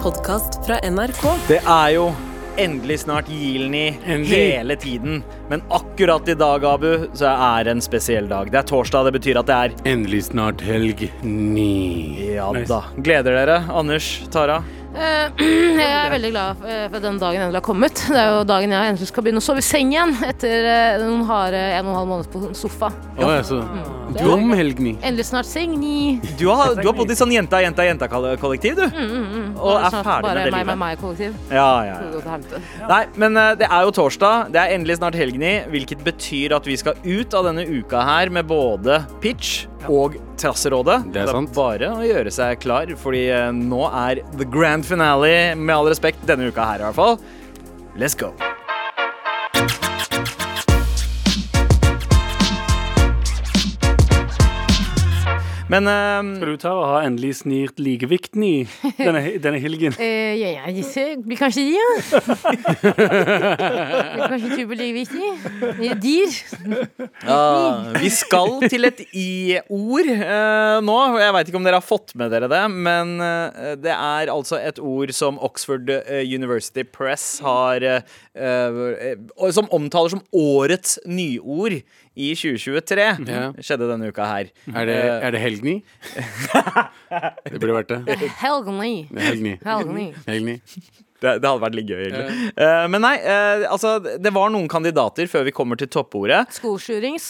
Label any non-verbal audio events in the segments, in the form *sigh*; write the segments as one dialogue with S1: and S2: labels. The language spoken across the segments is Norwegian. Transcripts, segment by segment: S1: podkast fra NRK.
S2: Det er jo endelig snart Gilni
S3: Endelig.
S2: hele tiden. Men akkurat i dag, Abu, så er det en spesiell dag. Det er torsdag, det betyr at det er
S3: Endelig snart helg ni.
S2: Ja
S3: Nice.
S2: da. Gleder dere? Anders, Tara?
S4: Eh, Jeg er veldig glad for eh, for at den dagen endelig har kommet. Det er jo dagen jeg endelig skal begynne å sove i seng igjen etter eh, noen harde en og en halv måned på sofa.
S3: Å, altså. Dum helg ni.
S4: Endelig snart seng ni.
S2: Du har, du har bodd i sånn jenta, jenta, jenta-kollektiv, du. Og
S4: Mm, Bare
S2: er
S4: snart
S2: ferdig
S4: bare
S2: med det
S4: meg,
S2: livet.
S4: meg, meg kollektiv.
S2: Ja, ja,
S4: Det
S2: ja.
S4: går til helvete.
S2: Nei, men eh, det er jo torsdag. Det er endelig snart helgen i, hvilket betyr at vi skal ut av denne uka her med både pitch og Trasserådet.
S3: Det er sant.
S2: bare å gjøre seg klar, fordi eh, nå er the grand finale, med all respekt, denne uka her i hvert fall. Let's go. Men eh,
S5: Skal du ta og ha endelig snirt likevekten i denne, denne helgen?
S4: Eh, ja, ja, disse blir kanskje de, ja. blir kanskje tubeligviktig. Dyr.
S2: Ja, vi skal til et i-ord eh, nå. Jeg veit ikke om dere har fått med dere det, men eh, det er altså et ord som Oxford eh, University Press har eh, eh, og Som omtaler som årets nyord i 2023.
S3: Ja.
S2: Skjedde denne uka her.
S3: *laughs* Er det, er det helg ni?
S5: *laughs*
S3: Det burde vært det.
S4: Helgny.
S3: Det er helg ni.
S4: Helgny.
S3: Helg ni.
S2: Det, det hadde vært litt gøy. egentlig. Eh, men nei, eh, altså Det var noen kandidater før vi kommer til toppordet.
S4: Skosjurings.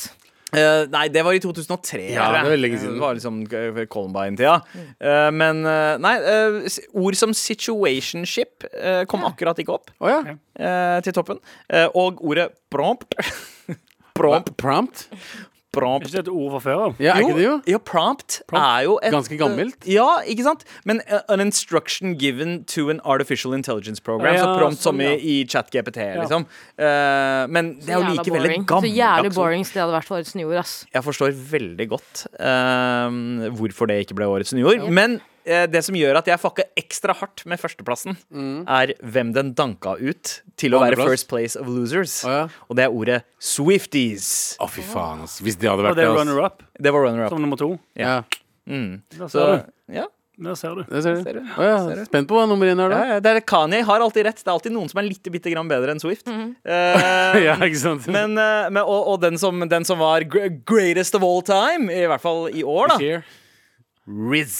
S2: Eh, nei, det var i 2003.
S3: Ja,
S2: tror jeg.
S3: det var lenge siden.
S2: Det var liksom eh, Columbine-tida. Eh, men eh, nei, eh, s- ord som situationship eh, kom akkurat ikke opp
S3: Å ja.
S2: eh, til toppen. Eh, og ordet prompt *laughs* Prompt,
S3: Prompt?
S5: Er
S2: prompt.
S5: ikke det et ord fra før av?
S3: Ja, er ikke det jo?
S2: ja, prompt, er jo et eh,
S3: Ganske gammelt.
S2: Ja, ikke sant? Men eh, an instruction given to an artificial intelligence program.
S5: Ja,
S2: så prompt som
S5: sånn, ja.
S2: i, i ChatGPT, liksom. Eh, men det er jo
S4: Jævla
S2: likevel et
S4: boring. Så
S2: gammelt altså.
S4: jævlig borings det hadde vært for årets nyord, ass.
S2: jeg forstår veldig godt eh, hvorfor det ikke ble årets nyord. Men eh, det som gjør at jeg fucka ekstra hardt med førsteplassen, er hvem den danka ut til å være
S3: Mm. Andreplass?
S2: First Place of Losers.
S3: Å ja.
S2: Og det er ordet Swifties.
S3: Å, fy faen, ass. Hvis det hadde
S5: Og
S3: vært
S5: det
S3: det,
S5: er
S3: ass.
S5: runner-up
S2: Det var runner up.
S5: som nummer to.
S3: Ja, Sånn,
S5: Der
S2: Så,
S5: ser du.
S2: ja.
S5: Der ser du.
S3: det ser
S2: Ser
S3: du.
S2: du?
S3: Å ja. Spent på hva nummer én er,
S2: Ja,
S3: da.
S2: ja, det er Kanye har alltid rett. Det er alltid noen som er litt bitte grann bedre enn Swift.
S3: Mhm. *laughs*
S2: Eh,
S5: Ja, ikke sant?
S2: men, eh, men, og og den, som, den som var gr- greatest of all time, i hvert fall i år, da.
S3: Here.
S2: Riz.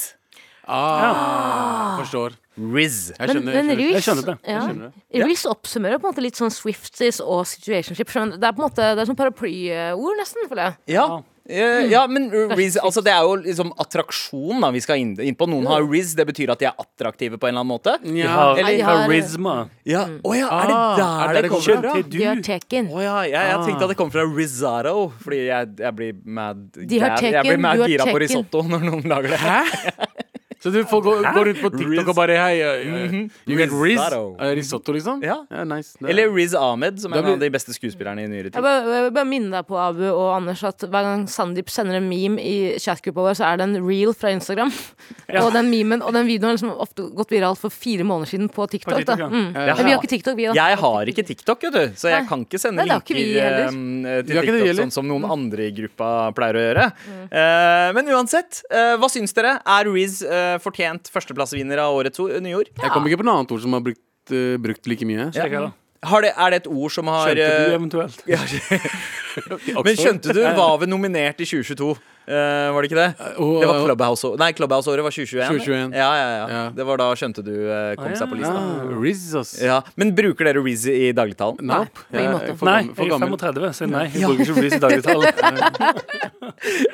S3: Ah, forstår.
S2: Riz.
S3: Jeg
S4: Men,
S3: skjønner.
S4: men
S3: jeg skjønner.
S4: Reels,
S5: Jeg skjønner det.
S4: Ja.
S3: skjønner det.
S4: Reels oppsummerer på en måte litt sånn Swifties og situationship. Skjønner du? Det er på en måte Det er sånn paraplyord, nesten, føler jeg.
S2: Ja, eh, ja men Riz, altså det er jo liksom attraksjon da vi skal inn, inn på. Noen har Riz, det betyr at de er attraktive på en eller annen måte.
S5: De
S3: Ja.
S5: har
S2: Eller-
S5: karisma.
S2: Ja, Å ja, er det
S3: Ah,
S2: der det kommer
S5: Kjøp
S2: fra?
S5: til
S4: De har
S5: du.
S4: taken.
S2: Å ja, jeg, jeg tenkte at det kom fra Rizzaro, fordi jeg, jeg blir mad
S4: De har
S2: gæren. Jeg
S4: Tekken,
S2: blir mad
S4: du har
S2: gira på
S4: Tekken.
S2: risotto når noen lager det.
S3: Hæ? Så du får gå, gå rundt på TikTok og bare Hei, eh, you get Riz?
S2: Risotto.
S3: Eh, Risotto, liksom?
S2: Mhm. Ja.
S3: nice. Det er-
S2: Eller Riz Ahmed, som
S3: Da
S2: er en av
S3: blir-
S2: de beste skuespillerne i nyere
S4: Jeg
S2: tid.
S4: bare, jeg vil bare minner deg på, Abu og Anders, at hver gang Sandeep sender en meme i chatgruppa vår, så er det en reel fra Instagram. Og den memen og den videoen har liksom ofte gått viralt for fire måneder siden på TikTok.
S5: På TikTok,
S4: da.
S5: ja.
S4: Mm.
S3: Eh,
S2: Jeg
S4: Men vi har ikke TikTok, vi, da.
S2: Jeg har ikke TikTok, vet du, så jeg
S4: Nei.
S2: kan ikke sende
S4: Nei, det har
S2: linker
S4: ikke vi heller. Mm.
S2: eh,
S3: Vi
S2: til
S3: har ikke det
S2: TikTok
S3: heller.
S2: sånn som noen andre i gruppa pleier å gjøre. Eh, men uansett, eh, hva syns dere? Er Riz eh, fortjent førsteplassvinner av årets o- nyord?
S3: Jeg kom ikke på noe annet ord som har brukt, eh, brukt like mye.
S5: Sjekk her, da.
S2: Har det, er det et ord som har
S5: Skjønte
S2: eh,
S5: du eventuelt?
S2: ja, *laughs* Men skjønte du, var vel nominert i 2022? eh, var det ikke det?
S3: Og-
S2: Det var Clubhouse Nei, Clubhouse-året var 2021.
S3: 2021.
S2: Ja, ja, ja,
S3: Ja.
S2: Det var da skjønte du eh, kom
S5: Ah,
S2: seg på lista.
S3: Ah, Riz, ass.
S2: Ja. Men bruker dere Riz i dagligtalen?
S3: Nope.
S4: på ingen måte.
S3: Jeg er Eh, for
S5: Nei,
S3: gammel- for
S5: jeg er
S3: gammel.
S5: 35, så nei. Jeg bruker ikke Reese i *laughs* dagligtall.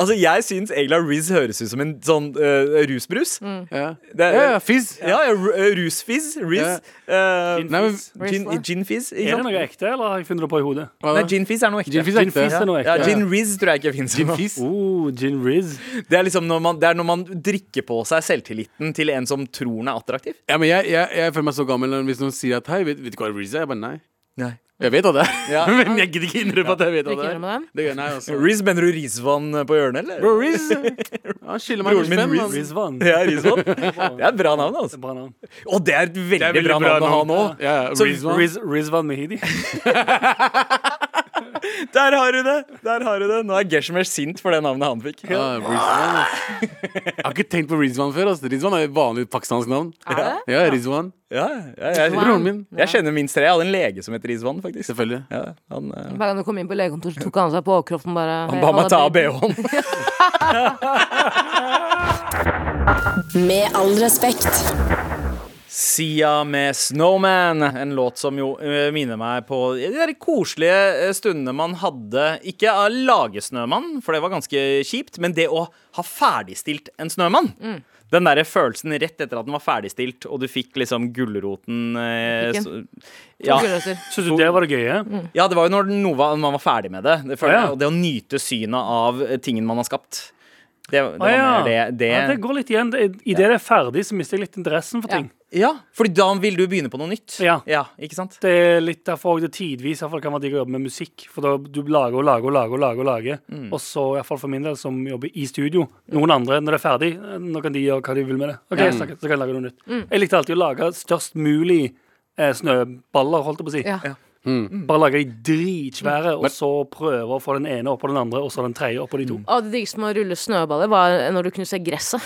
S2: Altså, jeg syns egentlig at Riz høres ut som en sånn eh, rusbrus.
S5: Mm.
S3: Ja.
S2: Det er-
S3: ja, ja, fizz.
S2: Ja, ja ru- eh, rusfizz. Riz. eh,
S5: Gin
S3: Nei, men
S2: gin
S4: Rizla.
S2: ginfizz.
S5: Er
S2: Ikke
S5: det
S2: sant?
S5: noe ekte, eller har jeg funnet det på i hodet?
S3: hva
S2: Nei,
S3: da?
S2: ginfizz er noe ekte.
S3: Gin fizz er
S5: Gin fizz
S3: ekte.
S5: er noe
S2: Ja,
S5: ekte.
S2: gin Riz tror jeg ikke fins.
S3: Gin fizz?
S5: Oh, gin Riz.
S2: Det er liksom når man, det er når man drikker på seg selvtilliten til en som tror den er attraktiv.
S3: Ja, men jeg, jeg, jeg føler meg så gammel når- hvis noen sier at hei, vet, vet du hva Riz er? Jeg bare nei.
S2: Nei.
S3: Jeg vet hva det er.
S2: Ja.
S3: *laughs* men jeg gidder ikke innrømme at jeg vet
S4: Vil du ikke
S3: hva det er.
S4: innrømme det?
S3: Det gjør nei, altså.
S2: Riz, mener du Rizvan på hjørnet, eller?
S3: Bro, Riz Han skylder meg
S2: Broren min
S3: norsk
S2: Riz.
S3: fem.
S5: Rizvan.
S2: Ja, Rizvan. Det er et bra navn, altså.
S5: Bra navn.
S2: Og det er et veldig, bra navn å ha nå.
S3: Ja, ja,
S2: Så
S3: Rizwan.
S5: Riz, Rizvan Mehidi.
S2: Der har du det! Der har du det Nå er Geshmer sint for det navnet han fikk.
S3: Ah, Rizwan, ass. Jeg har ikke tenkt på Rizwan før. ass. Rizwan er et vanlig pakistansk navn.
S4: Er det?
S3: Ja, Rizwan.
S2: Ja, ja, jeg,
S4: Wow.
S3: Broren min.
S2: jeg kjenner minst tre. Jeg hadde en lege som het Rizwan, faktisk.
S3: Selvfølgelig.
S2: Ja, han, eh,
S4: Hver gang du kom inn på legekontoret, tok han seg på overkroppen bare
S2: han ba meg ta av bh-en.
S1: Med all respekt.
S2: *laughs* Sia med 'Snowman'. En låt som jo eh, minner meg på de der koselige eh, stundene man hadde. Ikke av lage snømann, for det var ganske kjipt, men det å ha ferdigstilt en snømann. Den der følelsen rett etter at den var ferdigstilt, og du fikk liksom gulroten eh,
S4: Fikk
S2: så- ja.
S4: Gulrøtter.
S5: Syns du det var det gøye?
S2: ja, det var jo når den- noe var- man var ferdig med det. det føler,
S5: Ja.
S2: jeg. Og det å nyte synet av eh, tingen man har skapt. Det, det var
S5: Å, ja.
S2: mer det, det,
S5: Ja, det går litt igjen. Det- Idet det er ferdig, så mister jeg litt interessen for
S4: Ja.
S5: ting.
S2: ja, fordi da vil du begynne på noe nytt.
S5: Ja.
S2: ja ikke sant?
S5: Det er eh, litt derfor også det tidvis i hvert fall kan være digg å jobbe med musikk. For da du lager og lager og lager. Og lager og lager Og så, i hvert fall for min del, som jobber i studio. Noen andre, når det er ferdig, eh, nå kan de gjøre hva de vil med det. Ok, så, så kan jeg lage noe nytt Jeg likte alltid å lage størst mulig eh, snøballer, holdt jeg på å si.
S4: Ja.
S2: Mm.
S5: Bare lage de dritsvære, og så prøve å få den ene oppå den andre, og så den tredje oppå de to.
S4: Og det diggeste med å rulle snøballer var når du kunne se gresset.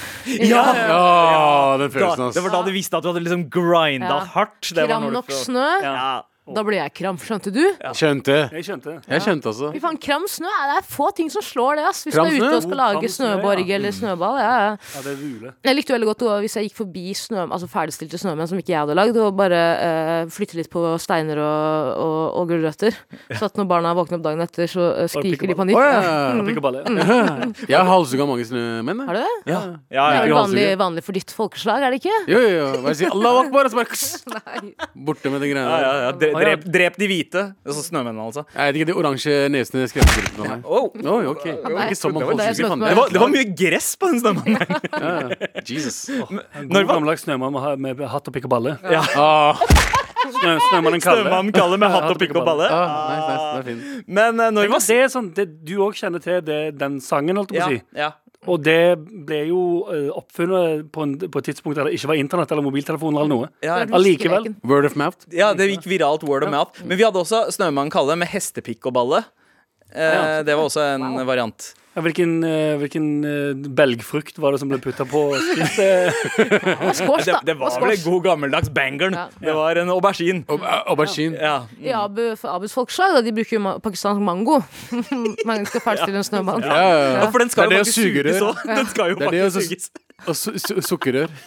S3: Ja, den følelsen,
S2: da,
S3: ass.
S2: det var da du visste at du hadde liksom grinda
S4: Ja.
S2: hardt. Det var
S4: Kram
S2: når du
S4: nok
S2: prøv-
S4: snø.
S2: Ja.
S4: Da ble jeg kram, skjønte du?
S3: Skjønte.
S5: Jeg skjønte det.
S3: Jeg skjønte også.
S4: Fy faen, kram snø, er- det er få ting som slår det, ass. Hvis du
S3: Kram
S4: er ute
S3: snø?
S4: og skal lage
S5: Kram snø, ja.
S4: snøborg eller
S2: Mm.
S4: snøball. Ja, ja.
S5: Ja, det er rule.
S4: Jeg likte veldig godt å- hvis jeg gikk forbi snø, altså ferdigstilte snømenn som ikke jeg hadde lagd, og bare eh, flytte litt på steiner og, og, og gulrøtter. Så at når barna våkner opp dagen etter, så eh, skriker de på nytt.
S3: Å,
S4: Ja.
S3: ja.
S5: Pikk og balle.
S3: Jeg har halshugga mange snømenn. jeg.
S4: Er det det?
S2: Ja. Ja,
S4: Det
S2: ja,
S4: er
S3: ikke
S4: vel vanlig,
S3: halshugge.
S4: vanlig for ditt folkeslag, er det ikke?
S3: Jo, jo, jo. Bare si Allah akbar, og så bare kss, borte med de greiene
S2: ja,
S3: der.
S2: ja. Dre-
S5: Å, ja.
S2: Drep, drep de hvite. Altså snømennene, altså.
S3: Jeg vet ikke, de oransje nesene skremte litt på meg.
S2: Oh.
S3: Oi, ok. Det var ikke så mange
S4: Det er
S3: halshugger,
S4: sånn
S3: faen.
S4: at
S2: Det var, det var mye gress på den snømannen.
S3: Ja, ja. Jesus.
S5: En
S2: Når
S5: god
S2: var-
S5: gammeldags snømann med, ha- med hatt og pikk og balle.
S3: Ah,
S5: Snø, snømannen Kalle.
S2: Snømannen kaller med hatt og pikk og balle.
S3: ah, nice, nice, det er fint.
S2: Men eh, når
S5: Men
S2: var
S5: det er sånn, det, du òg kjenner til det, den sangen, holdt jeg
S2: ja,
S5: på å si.
S2: ja.
S5: Og det ble jo eh, oppfunnet på, en, på et tidspunkt der det ikke var internett eller mobiltelefoner eller noe.
S2: Ja,
S4: Det var
S5: Allikevel.
S4: hviskeleken.
S3: Word of mouth.
S2: ja, det gikk viralt word of mouth. Men vi hadde også Snømannen Kalle med hestepikk og balle. Eh, det var også en variant.
S5: Ja, Hvilken, eh, hvilken eh, belgfrukt var det som ble putta på?
S2: *laughs*
S5: Spiste
S4: Og squash,
S2: Det,
S4: da.
S2: det
S4: Og
S2: var vel
S4: squash.
S2: en god gammeldags bangeren.
S4: Ja.
S2: Det var en aubergine.
S3: Au- au- Aubergine.
S2: Ja.
S4: I Abu, for Abus folkeslag, da, de bruker jo ma- pakistansk mango. *laughs* Man skal ferdigstille en snømann.
S3: Ja, ja,
S2: Ja,
S3: ja.
S2: for den skal
S3: Det er
S2: jo
S3: det
S2: faktisk
S3: å sugerør.
S2: suges òg. Den skal jo
S3: Det er det å
S2: faktisk
S3: su-
S2: suges.
S3: Og su su sukkerrør.
S2: *laughs*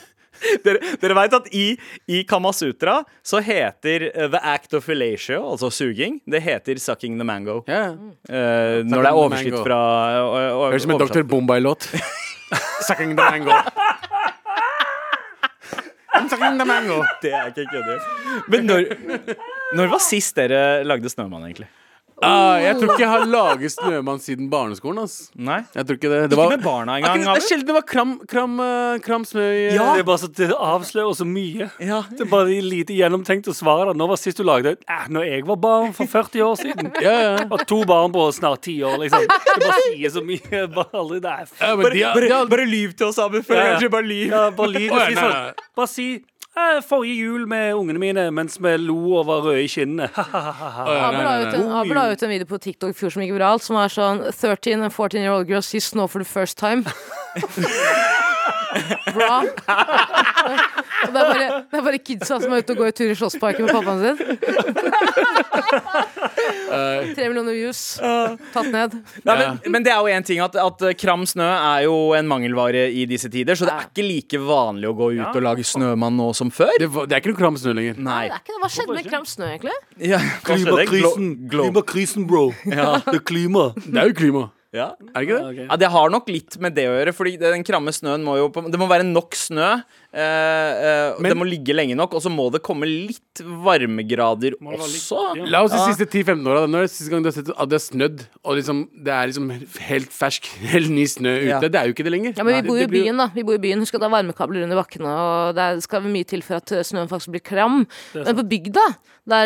S2: Dere, dere vet at i, i Kamasutra så heter eh, the act of fellatio, altså suging, det heter sucking the mango.
S3: Ja. ja.
S2: Eh, når
S3: Sucking
S2: det er
S3: the
S2: overskudd
S3: mango.
S2: fra eh, o-
S3: Høres ut som en
S2: oversatt.
S3: Dr. Bombay-låt. *laughs* Sucking the mango. I'm sucking the mango.
S2: Det er ikke kødder. Men når, når var sist dere lagde Snømann, egentlig?
S3: Ah, jeg tror ikke jeg har laget snømann siden barneskolen. ass
S2: Nei?
S3: Jeg tror ikke det. det var,
S2: Ikke med barna
S3: Er ikke
S2: engang?
S3: det- det er
S2: Abu?
S3: sjelden det var kram, kram, eh, kram snø i eh,
S5: Det er bare så, det avslører så mye.
S2: Ja.
S5: Det er bare de lite gjennomtenkte svarene. Nå var sist du lagde eh, Når jeg var barn for 40 år siden.
S3: Ja, ja.
S5: Og to barn på snart 10 år, liksom. Det bare sier så mye. Bare aldri det er
S3: ja men
S2: Bare,
S3: de, har- de
S2: bare,
S3: har-
S2: bare lyv til oss, Abu. Før
S5: Ja, ja.
S2: kanskje bare lyv.
S5: Ja, bare lyv.
S3: Å,
S5: og
S3: ja,
S5: Si
S3: nei,
S5: sånn. Bare si eh, forrige jul med ungene mine mens vi lo og var røde i kinnene. *laughs* Ha-ha-ha.
S3: Å, ja,
S4: Abel
S3: nei,
S4: la
S3: nei,
S4: ut
S3: nei.
S4: en, Abel la ut en video på TikTok i fjor som gikk viralt, som var sånn 13 and 14 year old girls see snow for the first
S3: *laughs*
S4: time. Bra. Og det er bare, det er bare kidsa som er ute og går tur i Slottsparken med pappaen
S3: *laughs*
S4: sin. Tre millioner views. Tatt ned.
S2: Nei, men, men det er jo en ting at, at eh, kram snø er jo en mangelvare i disse tider, så det er ikke like vanlig å gå ut og lage snømann nå som før.
S3: det, var, det er ikke noe kram snø lenger.
S2: Nei.
S4: Det er ikke det. Hva skjedde med Kram Snø, egentlig?
S2: Ja, hva skjedde? Glo- glo-
S5: Klimakrisen, bro. Det er klima.
S3: Det er jo klima.
S2: Ja.
S3: Er det ikke det?
S2: Ja, Det har nok litt med det å gjøre. Fordi den kramme snøen må jo på, Det må være nok snø. eh, eh,
S3: Men-
S2: det må ligge lenge nok, og så må det komme litt varmegrader også.
S5: ja.
S3: La oss de siste 10-15 åra. Nå er det siste gang du har sett at det er snødd, og liksom, det er liksom helt fersk, *laughs* helt ny snø ute.
S2: Ja.
S3: Det er jo ikke det lenger.
S4: Ja, men vi
S3: Det-
S4: bor jo i
S3: det blir
S4: byen, da. Vi bor i byen. Husk at det er varmekabler under bakkene, og det er- skal mye til for at eh, snøen faktisk blir kram. Men på bygda, der,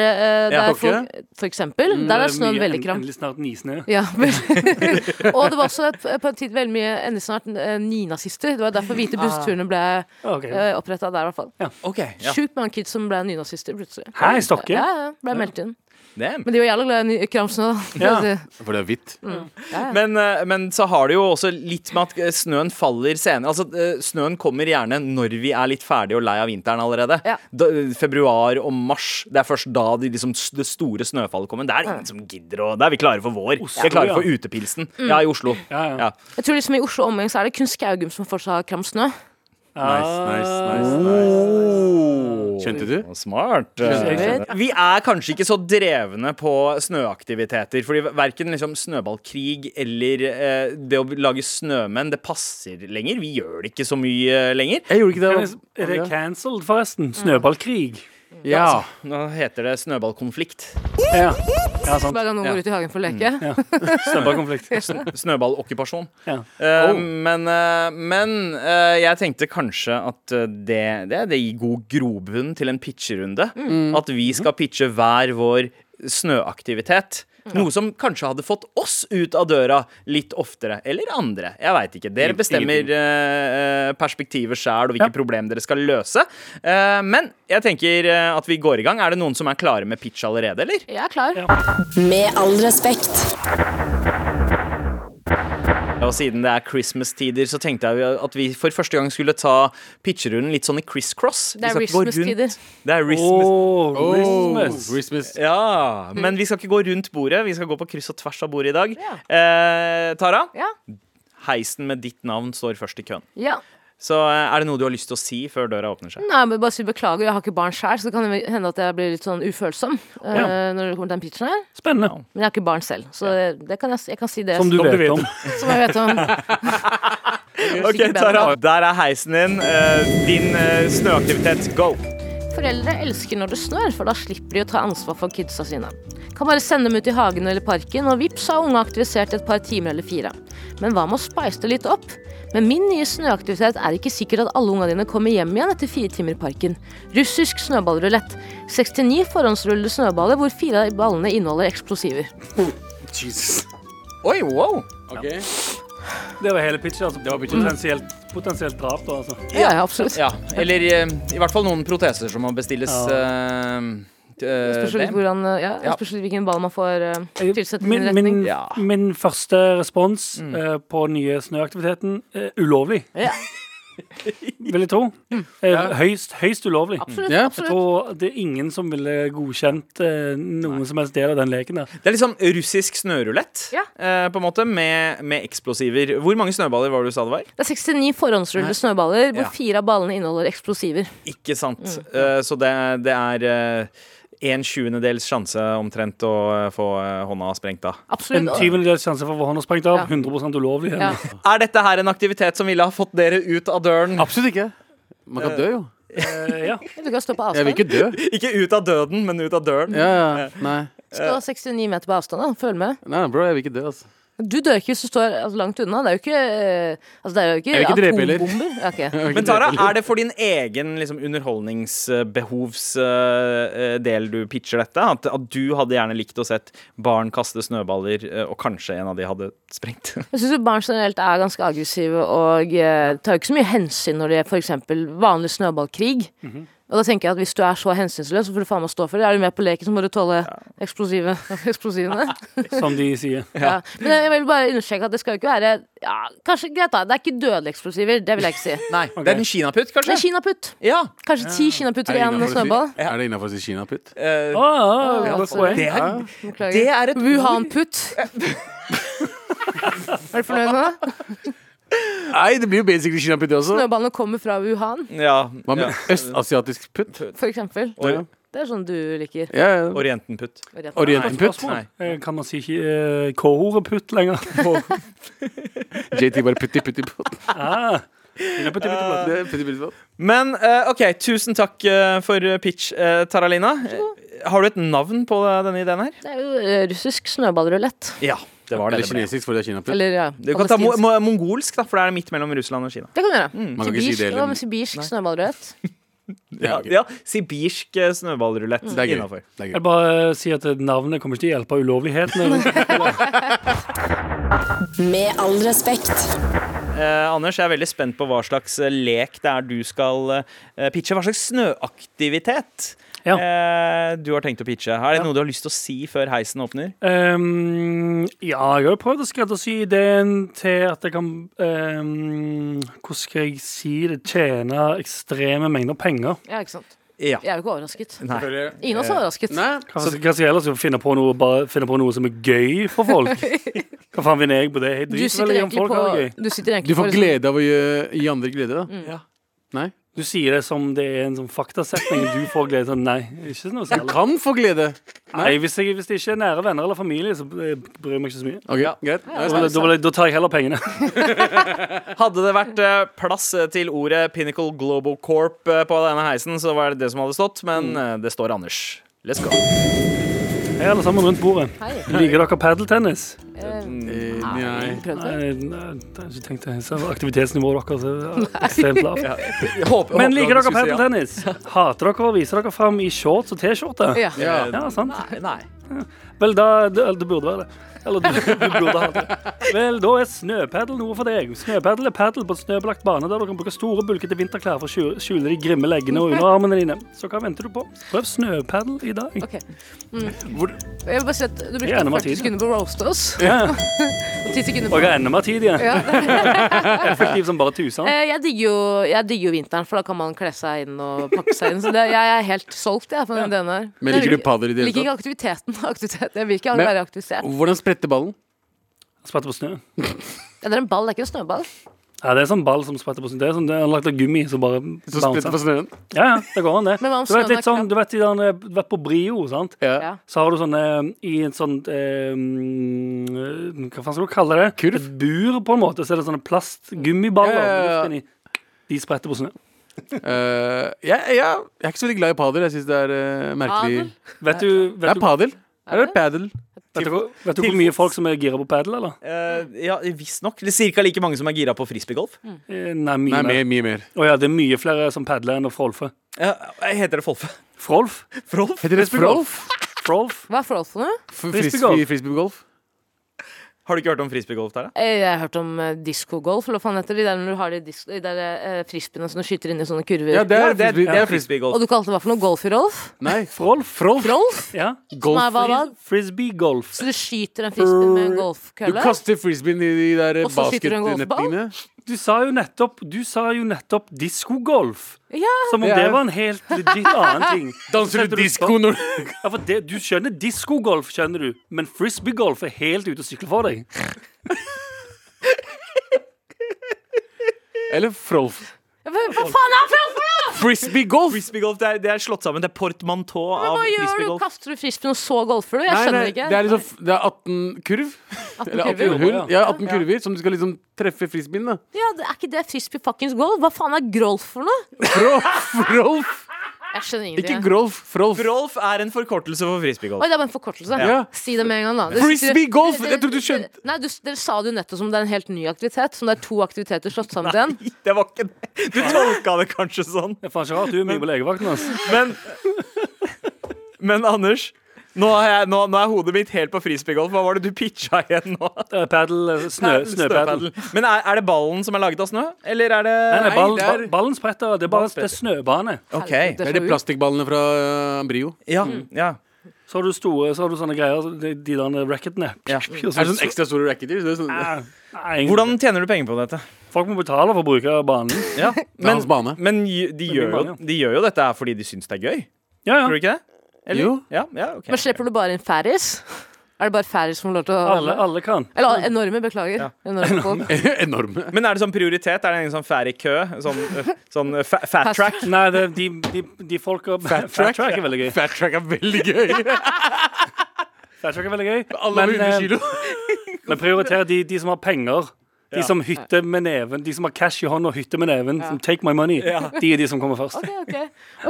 S2: Ja,
S4: eh, der
S3: Tokke.
S4: folk, for eksempel,
S5: Mm, eh,
S4: der er snøen veldig kram.
S5: Endelig snart nisnø.
S4: Ja, vel. *laughs* og det var også et, på en tid veldig mye endelig snart eh, nynazister. Det var derfor Hvite bussturene ble
S5: Ok.
S4: uh, oppretta der, i hvert fall.
S2: Ok, ja.
S4: Sjukt mange kids som ble nynazister plutselig.
S5: Hæ, i Stokke?
S4: Ja, ja, ble meldt inn.
S2: Damn.
S4: Men de var jævla glad i Kramsen òg,
S5: Ja.
S4: da.
S3: For det er hvitt.
S4: Ja, ja.
S2: Men, eh, men så har det jo også litt med at eh, snøen faller senere. Altså, eh, snøen kommer gjerne når vi er litt ferdige og lei av vinteren allerede.
S4: Ja.
S2: Da, eh, februar og mars. Det er først da de, liksom, s- det store snøfallet kommer. Det er ingen som gidder å Da er vi klare for vår. vi er klare
S5: ja.
S2: for utepilsen. Ja, i Oslo.
S5: Ja, ja.
S4: Jeg tror liksom I Oslo og omegn så er det kun Skaugum som fortsatt har Kramsnø.
S3: Nice, nice,
S5: Ah.
S3: nice, nice.
S5: Oh.
S3: Skjønte du?
S2: Smart.
S4: Skjønner.
S2: Vi er kanskje ikke så drevne på snøaktiviteter. Fordi verken liksom snøballkrig eller eh, det å lage snømenn, det passer lenger. Vi gjør det ikke så mye eh, lenger.
S3: Jeg gjorde ikke
S5: Er
S3: det.
S5: det- er det cancelled, forresten? Snøballkrig.
S3: Ja.
S2: Altså, Nå heter det snøballkonflikt.
S5: Ja, ja sant.
S4: Hver gang noen
S2: Ja.
S4: går ut i hagen for å leke.
S5: Snøballkonflikt.
S2: Snøballokkupasjon.
S5: Ja.
S4: *laughs*
S2: Eh, Men, eh, men eh, jeg tenkte kanskje at eh, det, det, det gir god grobunn til en pitcherunde. At vi skal pitche hver vår snøaktivitet. Noe som kanskje hadde fått oss ut av døra litt oftere. Eller andre. Jeg veit ikke. Dere
S3: Ingen-
S2: bestemmer
S3: ingenting.
S2: eh, eh, perspektivet sjæl og hvilke problem dere skal løse. Eh, men jeg tenker eh, at vi går i gang. Er det noen som er klare med pitch allerede, eller?
S4: Jeg er klar.
S1: Med all respekt.
S2: Ja, Og siden det er Christmas-tider, så tenkte jeg at vi for første gang skulle ta pitcherunden litt sånn i criss-cross.
S4: Det er Christmas-tider.
S2: Det er Christmas.
S5: Åh,
S3: Oh,
S5: Christmas.
S3: Christmas.
S2: Ja, Men vi skal ikke gå rundt bordet, vi skal gå på kryss og tvers av bordet i dag.
S4: Mm. Ja.
S2: Eh, Tara,
S4: Ja.
S2: heisen med ditt navn står først i køen.
S4: ja.
S2: Så eh, er det noe du har lyst til å si før døra åpner seg?
S4: Nei, men bare si beklager, jeg har ikke barn sjøl, så det kan hende at jeg blir litt sånn ufølsom eh,
S5: Ja.
S4: når det kommer til den pitchen her.
S5: Spennende.
S4: Men jeg har ikke barn selv, så det kan jeg, jeg kan si det.
S5: Som du vet om.
S4: Som jeg vet
S5: *laughs*
S4: om.
S2: Ok, Tara, Der er heisen din. Eh, din eh, snøaktivitet, go!
S4: Foreldre elsker når det snør, for da slipper de å ta ansvar for kidsa sine. Kan bare sende dem ut i hagen eller parken, og vips har unge aktivisert i et par timer eller fire. Men hva med å spice det litt opp? Med min nye snøaktivitet er det ikke sikkert at alle ungene dine kommer hjem igjen etter fire timer i parken. Russisk snøballrulett. 69 forhåndsrullede snøballer hvor fire av ballene inneholder eksplosiver.
S3: Jesus.
S2: Oi, wow!
S3: Ok.
S5: Det var hele pitchen. Altså.
S3: Det var pitchen.
S5: Potensielt, potensielt drap, da, altså.
S4: Ja, ja, absolutt.
S2: Ja, Eller eh, i hvert fall noen proteser som må bestilles. eh, t- eh,
S4: Spørs litt
S2: dem.
S4: hvordan, ja,
S2: Ja.
S4: spørs litt hvilken ball man får eh, tilsett i
S5: Min,
S4: retning. Mm.
S5: min,
S2: Ja.
S5: min første respons eh, på nye snøaktiviteten eh, ulovlig,
S4: Ja,
S5: *laughs* vil jeg tro. Eh, høyst, høyst ulovlig.
S4: absolutt,
S3: Ja.
S5: Jeg
S4: absolutt.
S5: tror det er ingen som ville godkjent eh, noen som helst del av den leken der.
S2: Det er litt sånn russisk snørulett,
S4: Ja.
S2: eh, på en måte, med, med eksplosiver. Hvor mange snøballer var det du sa det var?
S4: Det er 69 forhåndsrullede snøballer hvor
S2: Ja.
S4: fire av ballene inneholder eksplosiver.
S2: Ikke sant. Eh, så det, det er eh, en tjuendedels sjanse omtrent å eh, få eh, hånda sprengt av.
S4: Absolutt.
S5: En tyvendedels sjanse for å få hånda sprengt av.
S4: Ja.
S5: 100 ulovlig.
S4: Ja.
S2: Er dette her en aktivitet som ville ha fått dere ut av døren?
S3: Absolutt ikke. Man kan dø, jo.
S5: *laughs* Eh, ja.
S4: Du kan stå på
S3: Jeg
S4: avstand.
S3: vil ikke *laughs* dø.
S2: Ikke ut av døden, men ut av døren.
S3: Ja, ja. Nei.
S4: Stå 69 meter på avstand, da. Følg med.
S3: Nei, bro, jeg vil ikke dø, altså.
S4: Du dør ikke hvis du står altså, langt unna. Det er jo ikke, eh, altså, det er jo ikke,
S3: Jeg vil ikke drepe heller.
S4: atombomber. Ja, ok.
S3: Jeg vil ikke
S2: Men Tara,
S3: dø, eller?
S2: er det for din egen liksom, underholdningsbehovsdel du pitcher dette? At, at du hadde gjerne likt å sett barn kaste snøballer, eh, og kanskje en av de hadde sprengt? *laughs*
S4: Jeg syns barn generelt er ganske aggressive og eh, tar jo ikke så mye hensyn når det er f.eks. vanlig snøballkrig.
S3: Mhm.
S4: Og da tenker jeg at Hvis du er så hensynsløs, så får du faen meg stå for det. Er du med på leken, så må du tåle eksplosive, *laughs*
S3: *laughs*
S4: eksplosivene.
S5: Som de sier.
S4: Ja. Men jeg vil bare understreke at det skal jo ikke være ja, Kanskje greit, da. Det er ikke dødelige eksplosiver. Det vil jeg ikke si.
S2: Nei, det er en kinaputt,
S4: Det er
S2: kanskje?
S4: kinaputt.
S2: Ja.
S4: Kanskje ti kinaputter i en snøball.
S3: Er det innafor å si kinaputt?
S2: eh,
S5: Å, å,
S4: Ja,
S5: ah, godt
S4: altså,
S5: poeng.
S2: det, er,
S4: Beklager.
S2: det er et *laughs*
S4: Wuhan-putt. Er du fornøyd med det?
S3: Nei, det blir jo basically kinaputt, det også.
S4: Altså- Snøballene kommer fra Wuhan,
S2: Ja.
S3: Hva med *laughs*
S2: ja.
S3: østasiatisk putt?
S4: for eksempel.
S2: Or
S4: Det er sånn du liker.
S3: Ja, ja.
S2: Orientenputt.
S3: Orientenputt?
S5: Spørsmål?
S2: Nei.
S5: Eh, Kan man si ikke eh, K-ordet putt
S2: *laughs*
S5: lenger?
S3: JT bare putti putti *laughs* putt.
S5: Ah. Inne på tippet og platt.
S3: Det er putti putti putt.
S2: Men eh, OK, tusen takk eh, for pitch, eh, Taralina. Eh, har du et navn på eh, denne ideen her?
S4: Det er jo eh, russisk snøballrulett.
S2: Ja, det var
S3: Eller kinesisk, for det er kinaputt.
S4: Eller ja,
S2: Du kan ta mo
S4: palestinsk.
S2: mo mongolsk, da, for det er midt mellom Russland og Kina.
S4: Det kan du gjøre.
S3: Man kan ikke si
S4: Sibirsk, ja,
S3: det
S4: men
S3: heller.
S4: sibirsk snøballrulett.
S3: *laughs* Ja,
S2: Ja,
S3: ok. Mm.
S2: ja Sibirsk eh, snøballrulett
S3: Det er gøy.
S2: innafor.
S3: Det er gøy.
S5: Jeg bare sier at navnet kommer ikke til å hjelpe
S4: *laughs*
S5: ulovlighetene.
S1: Med all respekt.
S2: Eh, Anders, jeg er veldig spent på hva slags eh, lek det er du skal eh, pitche. Hva slags snøaktivitet
S5: Ja.
S2: eh, du har tenkt å pitche. Er det noe du har lyst til å si før heisen åpner?
S5: Ehm, ja, jeg har jo prøvd å skreddersy ideen til at jeg kan ehm, Hvordan skal jeg si det? Tjene ekstreme mengder penger.
S4: Ja, ikke sant?
S2: Ja.
S4: Jeg er jo ikke overrasket.
S2: Nei.
S4: Ingen av oss er overrasket.
S3: Nei.
S5: Hva skal, hva skal jeg ellers gjøre? finne på, noe, bare finne på noe som er gøy for
S4: *laughs*
S5: folk? Hva faen vinner jeg på det? Jeg
S4: Du
S5: driter
S4: sitter
S5: vel i om
S4: egentlig
S5: folk
S4: på
S5: har det gøy.
S4: Du sitter
S3: Du
S4: egentlig
S3: får
S4: på-
S3: glede av å gi, gi andre glede, da. Nei.
S5: Du sier det som det er en sånn faktasetning. Du får glede sånn Nei, ikke noe
S3: Du
S5: særlig.
S3: kan få glede.
S5: Nei, hvis, jeg, hvis det ikke er nære venner eller familie, så eh, bryr jeg meg ikke så mye.
S3: Ok, greit. Nå er
S5: Da,
S3: jeg spent.
S5: da, da tar jeg heller pengene.
S4: *laughs*
S2: Hadde det vært eh, plass eh, til ordet Pinnacle Global Corp eh, på denne heisen, så var det det som hadde stått, men eh, det står Anders. Let's go.
S5: Hei, alle sammen rundt bordet.
S4: Hei.
S5: Liker dere padeltennis?
S3: Eh, Nei.
S4: Prøvde.
S5: Nei, nei, jeg har ikke tenkt det. Så Aktivitetsnivået deres *laughs* er ekstremt lavt.
S2: Jeg håper-
S5: Men
S2: håper
S5: liker
S2: at du
S5: dere
S2: skulle si ja.
S5: padeltennis? Hater dere å vise dere fram i shorts og T-skjorte?
S4: Ja.
S3: Ja.
S5: Ja, sant?
S2: Nei.
S5: Vel, da Det, eller det burde være det. Eller du, du burde ha det. Vel, da er snøpadel noe for deg. Snøpadel er padel på en snøbelagt bane der du kan bruke store, bulkete vinterklær for å skjule- skjule de grimme leggene og underarmene dine. Så hva venter du på? Prøv snøpadel i dag.
S4: Ok. Jeg vil bare si at
S5: Gjerne,
S4: du brukte 40
S5: Mathilde.
S4: sekunder på å roaste oss.
S5: Ja, ja.
S4: Og 10 sekunder
S5: Og
S4: på
S5: jeg har enda mer tid igjen.
S4: ja.
S5: *laughs* Effektiv som bare tusen.
S4: Eh, Jeg digger, jo, jeg digger jo vinteren, for da kan man kle seg inn og pakke seg inn. Så det, jeg er helt solgt jeg, for den ideen der.
S3: Men liker du padel i det
S4: Liker
S3: hele tatt?
S4: ikke aktiviteten. *laughs* Aktivitet. Jeg vil ikke
S3: Men- Oh.
S4: være aktivisert.
S3: Hvordan spretter ballen?
S5: Spratter på snø.
S4: Ja, det er en ball, det er ikke en snøball.
S5: Ja, det er sånn ball som spretter på snø. Det er sånn, det er lagt av gummi som bare
S3: Så spretter
S5: bouncer.
S3: på snøen?
S5: Ja, ja, det går an, det.
S4: *laughs* Men hva om
S5: Du vet,
S4: snøen
S5: litt
S4: er
S5: sånn, du vet de der, eh, du vet på Brio, sant?
S4: Ja.
S5: Så har du sånn eh, i en sånn eh, mm, Hva faen skal du kalle det?
S3: Kurv?
S5: Et bur, på en måte. Så er det sånne plastgummiballer
S3: Ja, ja, ja.
S5: med luft inni. De spretter på snø.
S3: Eh, jeg, jeg, jeg er ikke så veldig glad i padel. Jeg syns det er eh, merkelig.
S4: Padel?
S5: Vet du,
S3: Det
S5: vet
S3: er
S5: du,
S3: padel. Eller padel.
S5: vet du, hvor- vet du hvor mye folk som er gira på padel, eller?
S2: Uh, ja, visstnok. Cirka like mange som er gira på frisbeegolf.
S5: Eh, Nei, mye
S3: Nei,
S5: mer.
S3: mye, mye mer.
S5: Å ja, det er mye flere som padler enn å frolfe.
S2: Ja, Eh, heter det Folfe? *laughs*
S5: Frolf?
S2: Frolf?
S3: Heter det frolf?
S5: Frolf?
S4: Hva er forhold for noe?
S3: F-
S5: Frisbeegolf.
S3: frisbee- Frisbeegolf?
S2: Har du ikke hørt om frisbeegolf der, da?
S4: Eh, Jeg har hørt om eh, diskogolf, eller hva faen heter det? De der når du har de, dis- de der eh, frisbeene som du skyter inn i sånne kurver.
S3: Ja, det er, frisbee, det er frisbee.
S4: Og
S2: frisbeegolf.
S4: du kalte det hva for noe? Golf i Rolf?
S3: Nei,
S5: Frolf? Frolf?
S4: Rolf?
S5: Ja.
S3: golf.
S4: Nei, hva da?
S5: Frisbee-golf.
S4: Så du skyter en frisbee med en
S3: Du
S4: golfkølle?
S3: kaster frisbeen i de der
S4: Og så skyter du en golfball?
S3: basketnettene.
S5: Du sa jo nettopp Du sa jo nettopp diskogolf.
S4: Ja.
S5: Som om
S3: Det
S5: det,
S3: er-
S5: var en helt legit annen ting.
S3: Danser
S5: Setter
S3: du
S5: du
S3: disko når du
S5: Ja, for det, Du skjønner diskogolf, skjønner du, men frisbeegolf er helt ute å sykle for deg.
S3: *laughs* Eller frolf.
S4: Hva, hva faen er forhold for noe?!
S3: Frisbeegolf!
S2: Frisbeegolf det, er- det er slått sammen. Det er portmanteau av
S4: Hva gjør du?
S2: frisbeegolf.
S4: Kaster du frisbeen, og så golfer du? Jeg
S3: Nei,
S4: skjønner
S3: nei,
S4: ikke.
S3: det er liksom f- Det er 18 kurv.
S4: 18
S3: Eller 18
S4: kurver.
S3: hull. Ja, 18
S4: Ja.
S3: kurver som du skal liksom treffe frisbeen, da.
S4: Ja, det er ikke det frisbee fuckings golf? Hva faen er grolf for noe?
S3: Frolf! frolf.
S4: Jeg skjønner
S3: Ikke
S4: ingenting.
S3: grolf, frolf.
S2: Rolf er en forkortelse for frisbeegolf.
S4: Oi, det er bare en forkortelse.
S3: Ja.
S4: Si det med en gang, da. Dere-
S3: Frisbee golf!
S4: dere-
S3: Jeg trodde du skjønte
S4: dere- Nei, du, dere sa det jo nettopp som det er en helt ny aktivitet. Som det er to aktiviteter slått sammen til en.
S2: *laughs* Det var ikke det. Du tolka det kanskje sånn.
S5: Det er faen ikke rart du er mye på legevakten. ass.
S2: Men, men Anders, nå er, jeg, nå, nå er hodet mitt helt på frisbeegolf. Hva var det du pitcha igjen nå?
S5: Eh, Padel, eh, snø,
S2: *laughs*
S5: snøpadel.
S2: Men er, er det ballen som er laget av snø, eller er det
S5: Nei, nei, ballen,
S3: det er-
S5: ba- ballen spretter. Det er bare det er snøbane.
S2: OK.
S3: Det er de plastikkballene fra eh, Brio.
S2: Ja. ja.
S5: Så har du store, så har du sånne greier, de, de der racketene.
S2: Ja.
S5: *laughs* Og så-
S3: Er det sånn ekstra store racketer? Så det er sånn,
S5: Eh, nei,
S2: Hvordan tjener du penger på dette?
S5: Folk må betale for å bruke banen.
S2: Ja,
S3: er hans bane.
S2: men ju- de,
S5: blir
S2: gjør jo,
S5: mange,
S2: de gjør jo dette her fordi de syns det er gøy.
S5: Ja,
S2: Tror du
S5: ja.
S2: ikke det? Eller?
S3: Jo. *laughs*
S2: Ja, ja, ok.
S4: Men slipper du bare inn færris? Er det bare færris som får lov til å
S5: Alle, alle kan.
S4: Eller enorme, beklager. Enorme folk.
S3: Enorme.
S2: Men er det sånn prioritet? Er det en sånn færre kø? Sånn, øh, sånn øh, fa fat
S4: Pass.
S2: track?
S5: Nei, det, de, de, de folka Fat track er veldig gøy.
S3: Fat track er veldig gøy.
S5: Fat track er veldig gøy.
S3: Alle
S5: Men,
S3: med 100
S5: eh,
S3: kilo.
S5: Men prioriter de, de som har penger. De som hytter med neven De som har cash i hånda og hytter med neven. Som take my money. De er de som kommer først.
S4: OK,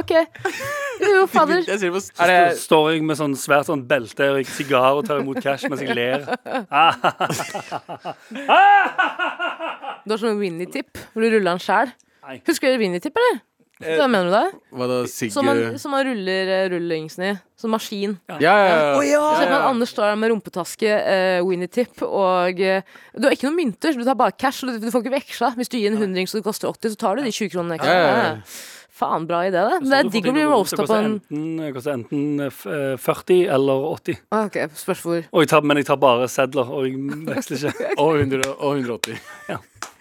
S4: OK. ok Jo, fader.
S3: Jeg ser det på
S2: Er
S5: Så
S2: det,
S5: står jeg med sånn svært sånn belte og sigar og tar imot cash mens jeg ler.
S4: Du har sånn Winnie-tipp, hvor du ruller den sjæl.
S5: Nei.
S4: Husker dere Winnie-tipp, eller?
S3: Eh,
S4: Hva mener du da?
S3: Hva da, Sigge?
S4: Som man, som man ruller eh, rullingsen i. Som maskin.
S3: Ja, ja, ja.
S2: Å, ja.
S4: Se på
S3: ja.
S4: at Anders står der med rumpetaske, eh, Winnie-tip og eh, Du har ikke noen mynter, så du tar bare cash. Og du, du får ikke veksla. Hvis du gir en hundring så det koster 80, så tar du de 20 kronene ekstra.
S3: Ja, ja, ja.
S4: Faen bra idé, det. Det
S5: Så du
S4: er
S5: får
S4: digg
S5: til
S4: å
S5: å
S4: bli
S5: gå- så
S4: roasta på en
S5: koster enten- Det koster enten eh, f- eh, 40 eller 80.
S4: Ah, Ok, spørs hvor.
S5: Og jeg tar, men jeg tar bare sedler, og jeg veksler ikke.
S3: Og, 100, og 180.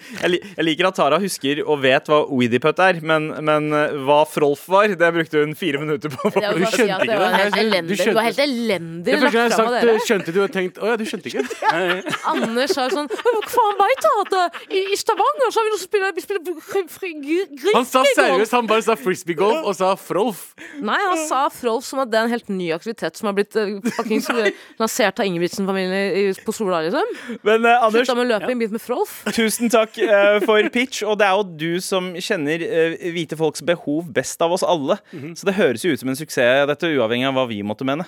S2: Jeg, li jeg liker at Tara husker og vet hva Oediput er, men, men eh, hva Frolf var, det brukte hun fire minutter på.
S4: Det er jo
S3: Du
S4: bare å si
S3: skjønte
S4: at det
S3: ikke
S4: var
S3: det.
S4: helt
S3: Jeg skjønte-
S4: elendig.
S3: du
S4: Det
S3: skjønte-
S4: var helt elendig
S3: Det første
S4: lagt
S3: jeg har
S4: fram av
S3: sagt, eh,
S4: dere.
S3: skjønte du og tenkte Å ja, du skjønte ikke?
S4: Anders sa sånn Hva faen veit jeg at det- i, i Stavanger så har vi noen som spiller, vi spiller fri- fri- gri- gris...
S3: Han sa seriøst, han bare sa frisbeegolf og sa Frolf.
S4: Nei, han sa Frolf som at det er en helt ny aktivitet som har blitt eh, fuckings eh, *laughs* lansert av Ingebrigtsen-familien i- på Sola, liksom.
S2: Men eh, Anders,
S4: Slutta med løping, begynte med Frolf.
S2: tusen takk eh, for pitch. Og det er jo du som kjenner eh, hvite folks behov best av oss alle. Så det høres jo ut som en suksess, dette, uavhengig av hva vi måtte mene.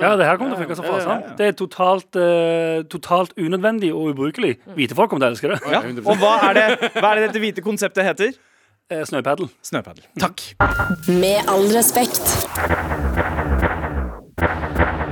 S5: Ja, det her kommer til å funke som fasen. Det er totalt, eh, totalt unødvendig og ubrukelig.
S4: Mm.
S5: Hvite folk kommer til å elske det.
S2: Ja. Og hva er, det, hva er det dette hvite konseptet heter?
S5: Eh, Snøpadel.
S2: Snøpadel. Takk.
S1: Med all respekt.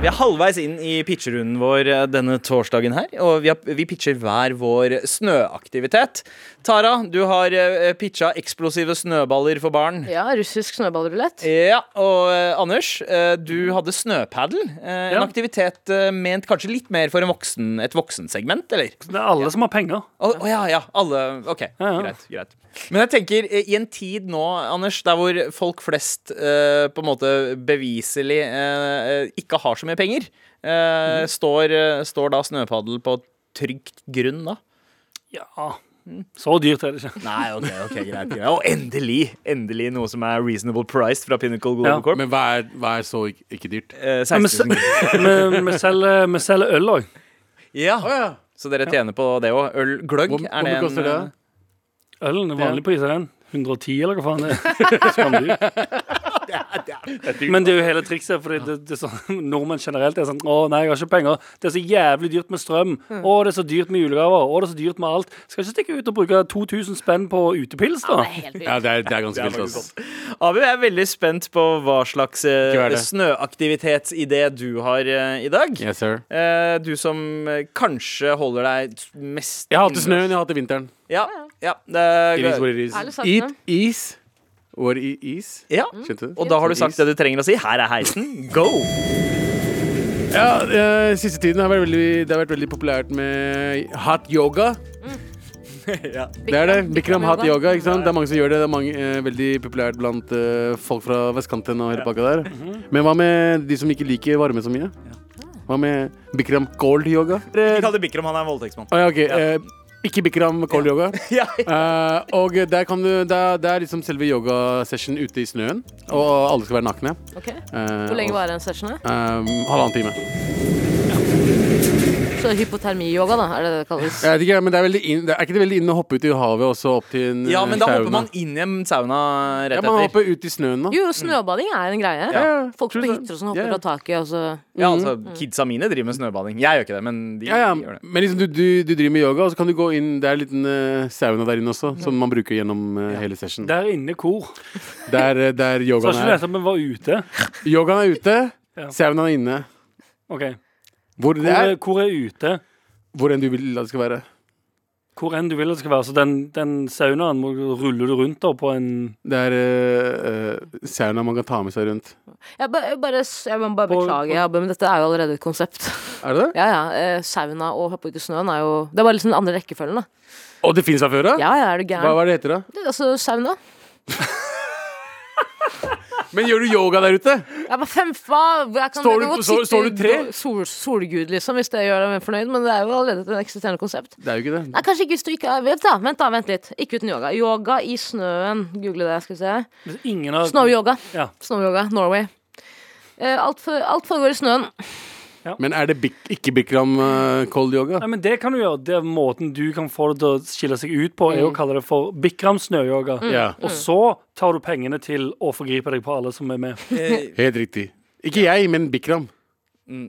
S2: Vi er halvveis inn i pitcherunden vår eh, denne torsdagen her, og vi, har, vi pitcher hver vår snøaktivitet. Tara, du har eh, pitcha eksplosive snøballer for barn.
S4: Ja, russisk snøballrulett.
S2: Ja, og eh, Anders, eh, du hadde snøpadel. eh, En
S5: Ja.
S2: aktivitet eh, ment kanskje litt mer for en voksen, et voksensegment, eller?
S5: Det er alle som har penger.
S2: Å å ja, ja. Alle OK,
S5: Ja, ja.
S2: greit. greit Men jeg tenker, eh, i en tid nå, Anders, der hvor folk flest eh, på en måte beviselig eh, eh, ikke har så mye penger, eh, står, eh, står da snøpadel på trygt grunn da?
S5: Ja.
S4: Mm.
S5: Så dyrt er det ikke.
S2: Nei, OK, ok, greit. greit. Og endelig! Endelig noe som er reasonable priced fra Pinnacle Global
S5: Ja,
S2: Corp.
S3: Men hva er, hva er så ikke, ikke dyrt?
S2: Eh,
S5: Men
S2: 16
S5: vi,
S2: 000 kroner.
S5: *laughs* vi, vi, selger, vi selger øl òg.
S2: Ja. Så dere tjener på det òg. Øl gløgg,
S3: Hvor, hvor mye koster det?
S5: Ølen er vanlig pris, er den? 110, eller hva faen det *laughs* er? Skamdyr. Men det er jo hele trikset. Fordi det, det er sånn, *laughs* nordmenn generelt er sånn Å, nei, jeg har ikke penger. Det er så jævlig dyrt med strøm. Å, det er så dyrt med julegaver. Å, det er så dyrt med alt. Skal ikke stikke ut og bruke 2000 spenn på utepils, da?
S4: eh,
S3: Ja, det er, det er sånn. ganske vilt, ass.
S2: Abu, jeg er veldig spent på hva slags eh,
S3: Ikke vær det.
S2: snøaktivitetsidé du har eh, i dag.
S3: Yes, sir.
S2: Eh, du som eh, kanskje holder deg t- mest
S3: Jeg hater
S2: innendørs.
S3: snøen, jeg hater vinteren.
S2: Ja, ja, det
S3: It is
S2: er,
S3: what it is.
S4: Ærlig sagt, Mm.
S3: Eat is what it is.
S2: ja.
S3: Skjønte du?
S2: Og da har du sagt det du trenger å si. Her er heisen.
S3: *laughs*
S2: Go!
S3: Ja, eh, siste tiden har vært veldig, det har vært veldig populært med hot yoga. Det er det. Bikram hot yoga. ikke sant? Det er mange som gjør det. Det er mange, eh, veldig populært blant eh, folk fra vestkanten og hele pakka der.
S2: Mhm.
S3: Men hva med de som ikke liker varme så mye? Hva med bikram cold yoga?
S2: Ikke kall det Bikram, han er en voldtektsmann.
S3: Å ja, ok. Eh, ikke bikram cold yoga.
S2: *laughs* Ja.
S3: Eh, og der kan du der, Det er liksom selve yogasession ute i snøen, og alle skal være nakne.
S4: Ok.
S3: Eh,
S4: Hvor lenge
S3: og-
S4: varer en session? da?
S3: Eh, halvannen time.
S4: Så hypotermi-yoga, da, er det det kalles.
S3: Jeg vet ikke, men det er, veldig inn, det er ikke det veldig inn å hoppe ut i havet og så opp til en
S2: ja,
S3: eh,
S2: men da
S3: sauna?
S2: hopper man inn i en sauna rett
S3: Ja, man
S2: etter.
S3: hopper ut i snøen, da.
S4: Jo, snøbading er en greie.
S3: Ja, ja,
S4: Folk
S3: true
S4: på
S3: that.
S4: hytter og sånn hopper
S3: Ja, ja.
S4: fra taket, og så
S2: Ja, altså, Kidsa mine driver med snøbading. Jeg gjør ikke det, men de,
S3: Mm. Ja, ja,
S2: de gjør det.
S3: men liksom du, du, du driver med yoga, og så kan du gå inn Det er en liten eh, sauna der inne også, som man bruker gjennom eh, hele session.
S5: Der inne hvor?
S3: Der, eh, der
S5: Så var
S3: yogaen
S5: ikke det at
S3: er.
S5: vi var ute?
S3: Yogaen er ute,
S5: Ja.
S3: saunaen er inne.
S5: OK.
S3: Hvor det
S5: Hvor er,
S3: er,
S5: hvor er ute?
S3: hvor enn du vil at det skal være.
S5: Hvor enn du vil det skal være. Så den, den saunaen må ruller du rundt da på en
S3: Det er eh, eh, sauna man kan ta med seg rundt.
S4: jeg, ba, jeg, bare, jeg må bare
S5: På-
S4: beklage, Abbe, men dette er jo allerede et konsept.
S3: Er det det?
S4: *laughs* Ja, ja. eh, Sauna og hoppe ut i snøen er jo Det er bare liksom den andre rekkefølgen, da.
S3: Og det fins fra før av?
S4: Ja, ja, er du gæren.
S3: Hva, hva er det heter da?
S4: Det er Altså, sauna.
S3: Men gjør du yoga der ute?
S4: Ja, hva fem hva? Jeg kan,
S3: Står
S4: jeg kan
S3: du-
S4: godt
S3: så-
S4: sitte
S3: står du
S4: i
S3: tre?
S4: do- Sol, solgud, liksom, hvis det gjør deg fornøyd, men det er jo allerede et eksisterende konsept.
S3: Det er jo ikke det.
S4: Nei, kanskje ikke hvis du ikke er Vent, da. Vent, da, vent litt. Ikke uten yoga. Yoga i snøen. Google det, skal vi se.
S5: Hvis ingen har
S4: Snowyoga.
S5: Ja.
S4: Snowyoga, Norway. Eh, alt, for, alt foregår i snøen.
S3: Men er det bik ikke bikram eh, cold yoga?
S5: Nei, men det kan du gjøre. Det er måten du kan få det til å skille seg ut på, er å kalle det for Bikram snøyoga.
S3: Ja,
S5: Og så tar du pengene til å forgripe deg på alle som er med.
S3: helt riktig. Ikke jeg, men bikram.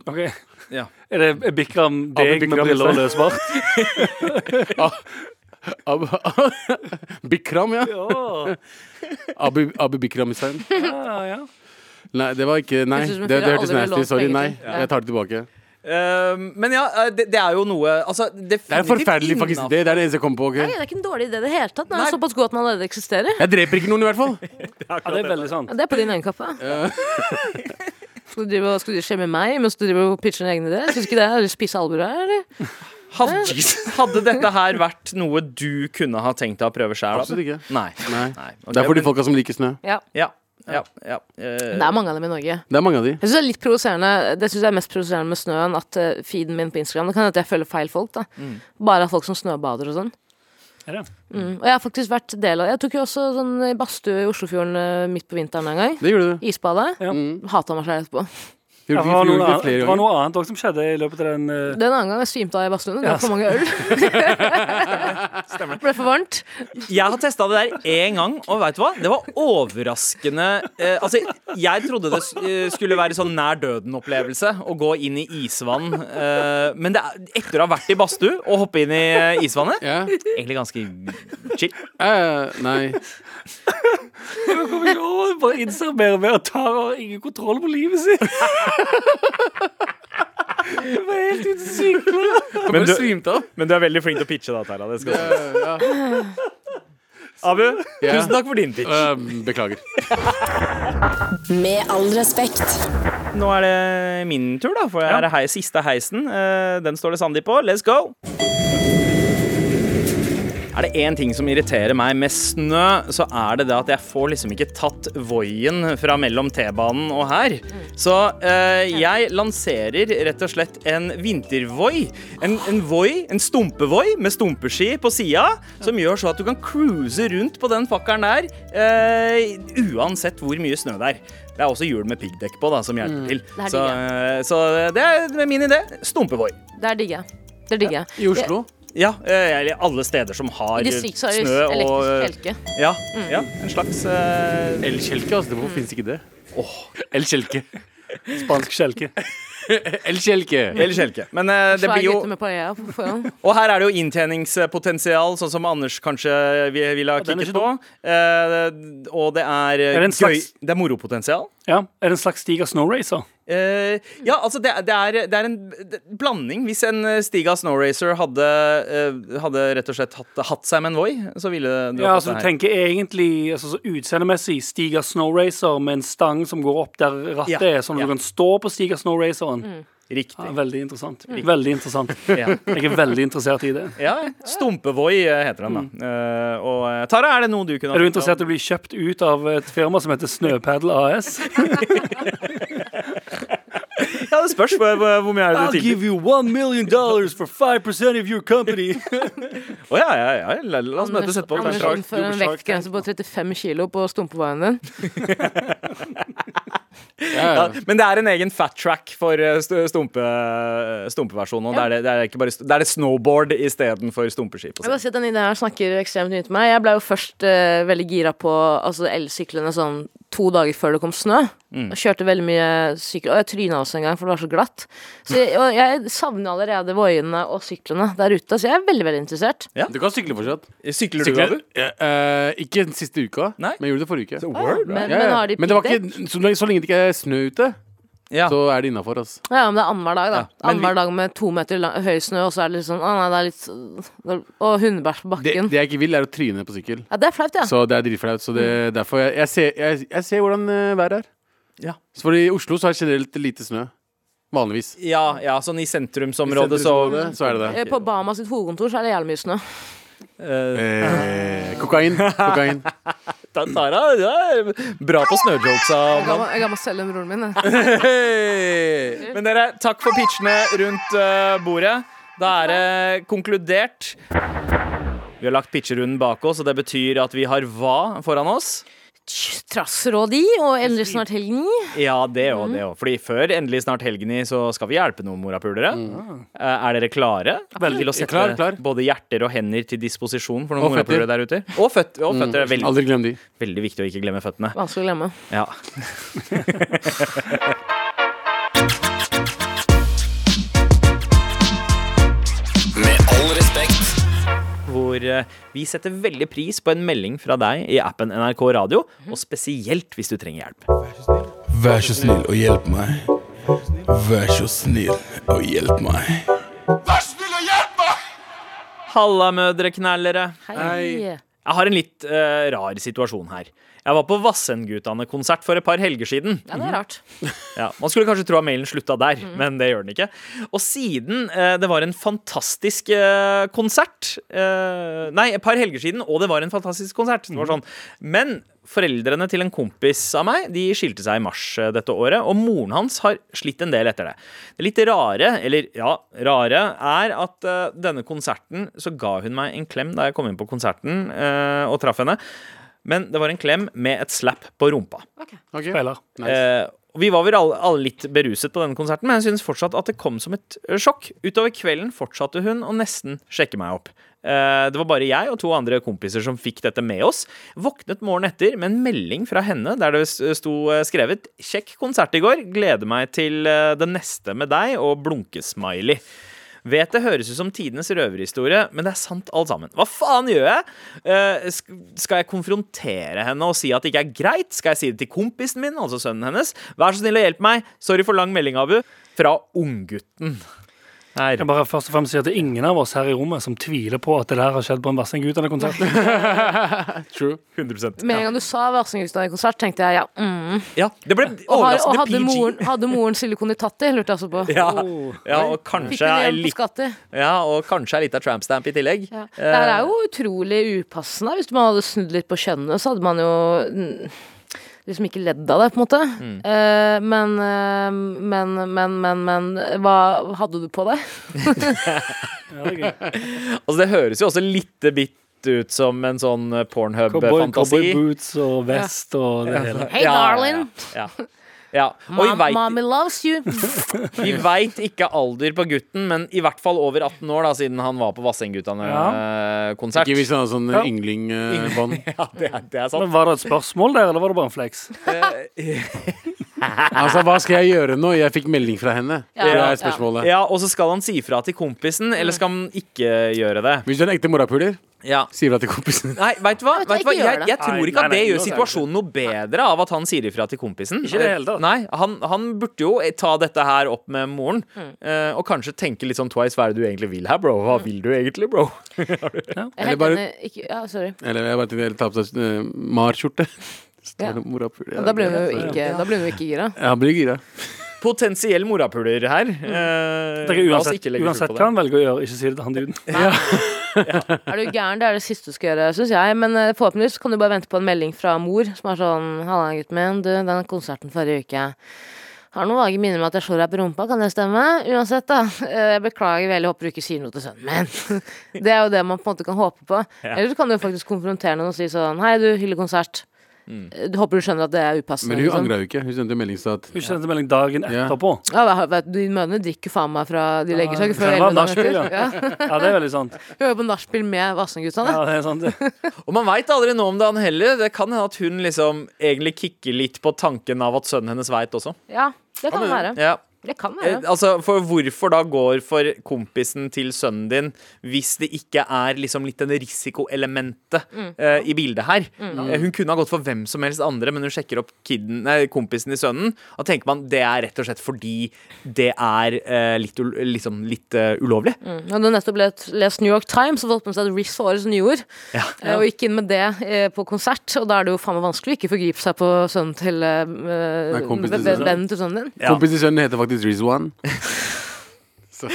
S5: Ok?
S2: Ja.
S5: Er det er Bikram
S3: Ja, men
S5: deg med
S3: Bikram
S5: briller og
S3: er
S5: løsbart?
S3: Ab *laughs* Bikram, ja.
S5: Ja,
S3: Abu, Abu Bikram Hussein.
S5: ja, ja. *laughs*
S3: Nei, det var ikke Nei,
S4: Høres ut som
S3: det,
S4: en
S3: det
S4: fyr jeg aldri
S3: hørtes
S4: ville
S3: nasty
S4: lånt
S3: ut. Sorry.
S4: penger
S3: Nei,
S4: til. Ja.
S3: jeg tar det tilbake.
S2: Eh, men ja, eh, det, det er jo noe Altså,
S3: Det er en forferdelig faktisk idé. Det er det eneste jeg kom på.
S4: Nei,
S3: ok?
S4: det er ikke en dårlig idé i det hele tatt. Den
S2: Nei.
S4: er såpass god at den allerede eksisterer.
S3: Jeg dreper ikke noen, i hvert fall.
S5: ja, det er veldig sant.
S4: Ja, Det er på din egen kappe. *laughs* Skal du drive og- skal du skjemme meg mens du driver og pitcher dine egne ideer? Syns ikke det er å spisse albuer her, eller?
S2: Hadde, *laughs* hadde dette her vært noe du kunne ha tenkt deg å prøve sjæl?
S3: Absolutt ikke.
S2: Nei.
S3: Nei.
S2: Nei.
S3: Det er for de folka som liker snø.
S4: Ja.
S2: Ja. ja, ja. eh,
S4: Det er mange av dem i Norge.
S3: Det er mange av de.
S4: Jeg synes Det er litt provoserende Det synes jeg er mest provoserende med snøen, at eh, feeden min på Instagram Det kan hende at jeg følger feil folk. da
S5: Mm.
S4: Bare folk som snøbader og sånn.
S5: Er det?
S4: Mm. Og jeg har faktisk vært del av Jeg tok jo også sånn i badstue i Oslofjorden eh, midt på vinteren en gang.
S3: Det gjorde du.
S4: Isbade.
S5: Ja.
S4: Hata meg selv etterpå.
S3: Det
S5: Ja, Det
S3: gjorde du
S5: var
S3: gjorde
S5: noe
S3: du
S5: annet,
S3: flere
S5: det var
S3: ganger.
S5: noe annet også som skjedde i løpet av den eh, *laughs*
S4: Den annen gang jeg svimte av i badstuen. Det
S5: Ja,
S4: var for mange
S2: *laughs*
S4: øl. Ble for varmt.
S2: Jeg har testa det der én gang, og vet du hva? Det var overraskende eh, Altså, jeg trodde det s- eh, skulle være sånn nær døden-opplevelse å gå inn i isvann, eh, men det er, etter å ha vært i badstue og hoppe inn i eh, isvannet
S3: Ja.
S2: Egentlig ganske chill.
S3: Eh, *laughs* nei.
S5: kommer ikke over, bare innser mer og mer at Tara har ingen kontroll på livet sitt. *laughs* Hun var helt ute å sykle.
S3: Men du svimte av.
S2: Men du er veldig flink til å pitche, da, Tara. Det skal
S3: Eh, ja.
S2: Abu,
S3: Ja.
S2: tusen takk for din pitch.
S3: Eh, Beklager.
S1: Med all respekt.
S2: Nå er det min tur, da, for jeg er hei, siste heisen. Eh, Den står det Sandeep på. Let's go! Er det én ting som irriterer meg med snø, så er det det at jeg får liksom ikke tatt Voien fra mellom T-banen og her. Så eh, jeg lanserer rett og slett en vintervoi. En, en voi, en stumpevoi med stumpeski på sida, som gjør så at du kan cruise rundt på den fakkelen der eh, uansett hvor mye snø det er. Det er også hjul med piggdekk på, da, som hjelper til.
S4: Mm. er
S2: Så, eh, så det er min idé. Stumpevoi.
S4: Der digger jeg. Der digger jeg.
S3: I Oslo.
S2: Ja, eh, eller alle steder som har
S4: I distrikt så
S2: snø
S4: er det
S2: og
S4: elektrisk
S2: eh,
S4: kjelke.
S2: ja, ja, en slags eh,
S3: Elkjelke, altså. Hvorfor finnes ikke det? Elkjelke.
S5: Spansk skjelke.
S3: Elkjelke.
S2: Eller kjelke. Men eh, det
S4: Svær
S2: blir jo
S4: gutte med paella på forhånd.
S2: Og her er det jo inntjeningspotensial, sånn som Anders kanskje vi- ville ha
S5: den er
S2: kikket
S5: ikke
S2: på. Eh, og det er, eh,
S5: Er det en
S2: gøy
S5: slags-
S2: Det er moropotensial.
S5: Ja, Er det en slags Stig av Snow Racer?
S2: Eh, ja, altså det, er- det, er, det er en det- blanding. Hvis en eh, Stiga Snowracer hadde, eh, hadde rett og slett hatt, hatt seg med en Voi, så ville du
S5: Ja,
S2: ha
S5: altså
S2: fått
S5: Du
S2: det her.
S5: tenker egentlig altså, så utseendemessig Stig av Snow Racer med en stang som går opp der rattet
S2: Ja,
S5: er, sånn at
S2: ja.
S5: du kan stå på Stig av Snow Raceren. Ja,
S2: Riktig.
S5: veldig interessant. Veldig interessant.
S2: Ja.
S5: Jeg er veldig interessert i det.
S2: Ja, Stumpevoi eh, heter den, da. Eh, og eh, Tara, er det noe du kunne ha
S5: Mm. Er du
S2: tenkt deg om?
S5: interessert i å bli kjøpt ut av et firma som heter Snøpadel *laughs* AS?
S2: Ja, det spørs hvor, hvor hvor mye er
S5: Ah,
S2: det du tilbyr.
S5: you one million dollars for 5% of your *laughs* company.
S2: Å ja, ja, ja. La, la oss møtes etterpå.
S4: Anders
S2: Kanskje.
S4: innfører en vektgrense på 35 kilo på stumpeveien din.
S3: Ja, ja.
S2: Ja, men det er en egen fat track for eh, st- stumpe, stumpeversjonen. og Det, er det, det, er ikke bare, st- det er det snowboard istedenfor stumpeskip. og
S4: Jeg vil
S2: sånn.
S4: bare si at Den ideen her snakker ekstremt mye til meg. Jeg ble jo først eh, veldig gira på altså, elsyklene sånn to dager før det kom snø.
S3: Mm.
S4: Og kjørte veldig mye sykler. Og jeg tryna også en gang, for det var så glatt. Så jeg, og jeg savner allerede voiene og syklene der ute, så jeg er veldig veldig interessert.
S3: Du kan sykle fortsatt.
S2: Sykler du,
S3: Sykle?
S2: Abu?
S3: Eh, ikke den siste uka,
S2: Nei.
S3: men jeg gjorde det forrige uke.
S4: Men,
S3: Ja, ja.
S4: men har de
S3: men det var
S4: piggdekk?
S3: ikke, så, lenge, så lenge det ikke er snø ute,
S2: Ja.
S3: så er det innafor. Altså.
S4: Ja, men det er annenhver dag, da.
S2: Ja, men vi-
S4: Annenhver dag med to meter lang, høy snø, og så er det litt sånn Å nei, det er litt Og hundebæsj
S6: Ah,
S4: på
S3: Det,
S4: bakken.
S3: det jeg ikke vil, er å tryne på sykkel.
S4: ja, det er flaut, ja.
S3: Så det er dritflaut. Så det,
S6: Mm.
S3: derfor jeg, jeg, ser, jeg, jeg ser hvordan eh, været er.
S2: Ja.
S3: Så for I Oslo så er det generelt lite snø. Vanligvis.
S2: ja, ja, sånn i sentrumsområdet,
S3: I
S2: så
S3: sentrumsområdet så er det det.
S4: Eh, På Bahamas sitt hovedkontor så er det jævlig mye snø.
S2: Eh,
S3: Eh, kokain. kokain.
S2: da- Tara, du er bra på snøjokesa. mann.
S4: Jeg kan, jeg kan bare selge den broren min. jeg.
S2: Hei! Men dere, takk for pitchene rundt eh, bordet. Da er det konkludert. Vi har lagt pitcherunden bak oss, og det betyr at vi har hva foran oss?
S4: trassrådi og endelig snart helgen.
S2: Ja, det òg, det òg. Fordi før endelig snart helgen i, så skal vi hjelpe noen morapulere. Eh, Er dere klare til å sette
S3: Mm. Klar, klar.
S2: både hjerter og hender til disposisjon for noen
S3: Og føtter. Mm.
S2: morapulere der ute? Og føtter. Og føtter er veldig,
S3: Aldri glem de.
S2: veldig viktig å ikke glemme føttene.
S4: Vanskelig å glemme.
S2: Ja. Hvor eh, eh, vi setter veldig pris på en melding fra deg i appen NRK Radio, og spesielt hvis du trenger hjelp.
S6: *laughs* Vær så snill og hjelp meg. Vær så snill og hjelp meg.
S2: Halla, mødreknallere.
S4: Hei.
S2: Jeg har en litt eh, rar situasjon her. Jeg var på Vassendgutane-konsert for et par helger siden.
S4: Ja, det er rart.
S2: Ja, man skulle kanskje tro at mailen slutta der, men det gjør den ikke. Og siden eh, det var en fantastisk eh, konsert eh, Nei, et par helger siden, og det var en fantastisk konsert. Det var sånn. Men foreldrene til en kompis av meg De skilte seg i mars eh, dette året, og moren hans har slitt en del etter det. Det litt rare, eller ja, rare, er at eh, denne konserten så ga hun meg en klem da jeg kom inn på konserten eh, og traff henne. Men det var en klem med et slap på rumpa.
S3: Ok.
S5: Speiler.
S2: Eh, og vi var vel alle, alle litt beruset på denne konserten, men jeg synes fortsatt at det kom som et eh, sjokk. Utover kvelden fortsatte hun å nesten sjekke meg opp. Eh, det var bare jeg og to andre kompiser som fikk dette med oss. Våknet morgenen etter med en melding fra henne der det s- sto eh, skrevet 'Kjekk konsert i går. Gleder meg til eh, den neste med deg' og blunkesmiley. Vet det høres ut som tidenes røverhistorie, men det er sant alt sammen. Hva faen gjør jeg? Eh, sk skal jeg konfrontere henne og si at det ikke er greit? Skal jeg si det til kompisen min, altså sønnen hennes? Vær så snill og hjelp meg. Sorry for lang melding, Abu. Fra unggutten. Her.
S5: Jeg bare først og fremst sier at det er ingen av oss her i rommet som tviler på at det der har skjedd på en Vassendgutane-konsert. *laughs*
S2: 100
S4: Med en gang du sa Varsinghuset-konsert, tenkte jeg ja. Mm.
S2: Ja, det ble
S4: Og, har, og
S2: overraskende
S4: hadde,
S2: PG.
S4: moren, hadde moren Silje Konitatti, lurte jeg også på.
S2: Ja, ja, og
S4: Fikk
S2: kanskje
S4: hun
S2: er
S4: igjen på
S2: litt,
S4: skattet?
S2: ja, og kanskje er litt av trampstamp i tillegg.
S4: Ja.
S2: Eh,
S4: Det her er jo utrolig upassende. Hvis man hadde snudd litt på kjønnet, så hadde man jo mm, liksom ikke ledd av det, på en måte.
S2: Mm.
S4: Eh, men, eh, men, men, men, men Hva hadde du på deg?
S5: Ja, det er gøy.
S2: altså, det høres jo også litt bitt ut som en sånn eh,
S5: Cowboy, cowboy
S2: Pornhub-fantasi.
S5: boots og vest og det hele.
S4: Hey, darling!
S2: Ja, ja, ja. ja. Og vi
S4: Mom,
S2: vet-
S4: mommy loves
S2: *laughs*
S4: you!
S2: Vi veit ikke alder på gutten, men i hvert fall over 18 år, da, siden han var på Vassendgutane-konsert.
S3: Ikke hvis han har sånn
S5: Ja.
S3: ynglingbånd.
S2: *laughs* Ja, det er, det er sant.
S5: Men Var det et spørsmål der, eller var det bare en flex?
S2: Eh,
S3: Altså, hva skal jeg gjøre nå? Jeg fikk melding fra henne.
S4: Ja,
S3: det
S4: ja.
S3: er spørsmålet.
S2: Ja, Og så skal han si fra til kompisen, eller skal han ikke gjøre det?
S3: Hvis du er en ekte morapuler,
S2: Ja
S3: sier du det til kompisen.
S2: Nei, veit du hva?
S4: Jeg vet
S2: Vet du hva?
S4: ikke gjør
S2: Jeg,
S4: det.
S2: jeg tror
S5: Nei,
S2: ikke at
S5: nei,
S2: det
S5: nei,
S2: gjør
S5: nå sier jeg
S2: situasjonen noe bedre av at han sier ifra til kompisen.
S5: Ikke det hele tatt.
S2: Nei, han, han burde jo ta dette her opp med moren,
S4: Mm.
S2: eh, og kanskje tenke litt sånn twice. Hva er det du egentlig vil her, bro? Hva vil du egentlig, bro?
S4: Jeg er helt
S3: bare-
S4: enig. Ikke, ja, sorry.
S3: Eller jeg bare tenkte jeg ta på seg eh, Mar-skjorte. Står
S4: Ja.
S3: det morapuler?
S4: Da ble hun jo ikke, da ble hun jo ikke gira.
S3: Jeg blir gira.
S2: Potensiell morapuler her. Eh,
S5: Det er
S2: la oss
S5: uansett,
S2: ikke legge skjul
S5: uansett
S2: på det.
S5: hva han velger å gjøre, ikke si det til han duden.
S4: Er du gæren? Det er det siste du skal gjøre, syns jeg. Men eh, forhåpentligvis kan du bare vente på en melding fra mor som er sånn Halla, gutten min. Du, den konserten forrige uke har noen vage minner om at jeg slår deg på rumpa, kan det stemme? Uansett, da. eh, Jeg beklager veldig, håper du ikke sier noe til sønnen min. *laughs* Det er jo det man på en måte kan håpe på. Eller så kan du jo faktisk konfrontere noen og si sånn Hei, du, hyller konsert. Eh, Du håper du skjønner at det er upassende.
S3: Men hun
S4: liksom.
S3: angra jo ikke. Hun sendte melding og sa at
S5: Hun sendte melding dagen
S3: Ja.
S5: etterpå.
S4: Ja, hva- vet du, de mødrene drikker jo faen meg fra De legger seg ikke
S5: Ja,
S4: før
S5: det var
S4: 11 dager
S5: nachspiel,
S4: etter. Ja.
S5: Ja, det er veldig sant.
S4: Hun er på nachspiel med Vassendgutane.
S5: Ja, det er sant.
S2: *laughs*
S5: det.
S2: Og man veit aldri noe om det, han heller. Det kan hende at hun liksom egentlig kikker litt på tanken av at sønnen hennes veit også.
S4: Ja, det kan være.
S2: Ja.
S4: Det kan
S2: Eh,
S4: være.
S2: altså, for hvorfor da går for kompisen til sønnen din hvis det ikke er liksom litt den risikoelementet
S4: Mm.
S2: eh, i bildet her? Eh, hun kunne ha gått for hvem som helst andre, men hun sjekker opp kidden, nei, kompisen i sønnen. Da tenker man det er rett og slett fordi det er eh, litt, ul- liksom, litt eh, ulovlig.
S4: Mm. Jeg hadde nettopp let- lest New York Times og fått med seg at Riz var årets nyord. Eh, Og gikk inn med det eh, på konsert, og da er det jo faen meg vanskelig å ikke forgripe seg på sønnen til eh, eh, ve-
S3: kompisen til
S4: ve-
S3: sønnen.
S4: vennen til sønnen din.
S2: Ja.
S3: Kompisen til sønnen heter faktisk Rizwan.
S2: *laughs*
S3: Så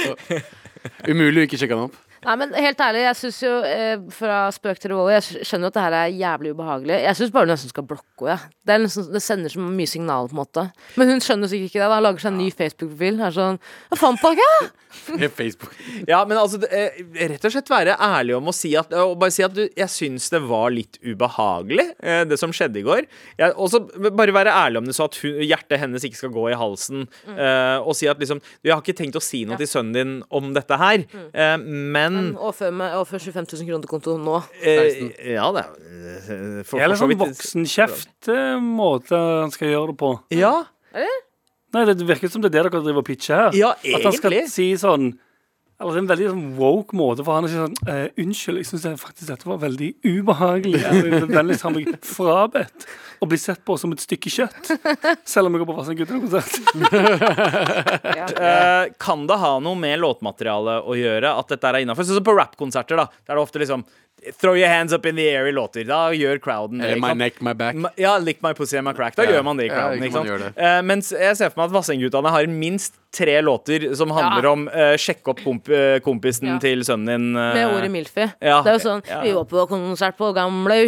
S3: umulig å ikke sjekke han opp.
S4: Nei, men helt ærlig, jeg syns jo, eh, fra spøk til revolver, jeg skj- skjønner jo at det her er jævlig ubehagelig. Jeg syns bare du nesten skal blokke henne, jeg. Det, er nesten- det sender så mye signaler, på en måte. Men hun skjønner sikkert ikke det. Da Hun lager seg en ny Facebook-profil. Er sånn Hva faen, pakka?
S3: Det
S2: *laughs*
S3: er Facebook.
S2: Ja, men altså, det, eh, rett og slett være ærlig om å si at, eh, og bare si at du, jeg syns det var litt ubehagelig, eh, det som skjedde i går. Jeg, også bare være ærlig om det, så at hun, hjertet hennes ikke skal gå i halsen. eh, og si at liksom Du, jeg har ikke tenkt å si noe til sønnen din om dette her, eh, men
S4: Overfør med- overfør 25 000 kroner til kontoen nå.
S2: eh, Ja, det er eh, for,
S5: Eller
S2: for så
S5: sånn
S2: vidt
S5: voksenkjeft-måte han skal gjøre det på.
S2: Ja,
S5: Nei, Det virker som det er det dere driver og pitcher her.
S2: ja
S5: At han skal
S2: egentlig.
S5: si sånn Eller det er en veldig sånn woke måte for han å si sånn eh, Unnskyld, jeg syns faktisk dette var veldig ubehagelig. Eller Vennligst har meg frabedt å bli sett på som et stykke kjøtt.
S2: *laughs*
S5: Selv om jeg går på Vassendgutta-konsert.
S2: Eh, kan det ha noe med låtmaterialet å gjøre at dette er innafor? Sånn som på rappkonserter, da. Der er det ofte liksom Throw your hands up in the air i låter. Da gjør crowden det.
S3: Eh,
S2: ikke
S3: My
S2: sant?
S3: neck, my back.
S2: Ma- Ja, lick my pussy and my crack. Da
S3: Ja.
S2: gjør man det i
S3: Ja,
S2: crowden.
S3: ikke
S2: ikke
S3: man
S2: sant?
S3: gjør det.
S2: Eh, mens jeg ser for meg at Vassendgutane har minst tre låter som handler
S4: Ja.
S2: om eh, sjekke opp komp eh, kompisen
S4: Ja.
S2: til sønnen din. eh.
S4: Med ordet Milfi.
S2: Ja.
S4: det er jo sånn
S2: Ja.
S4: Vi var på konsert på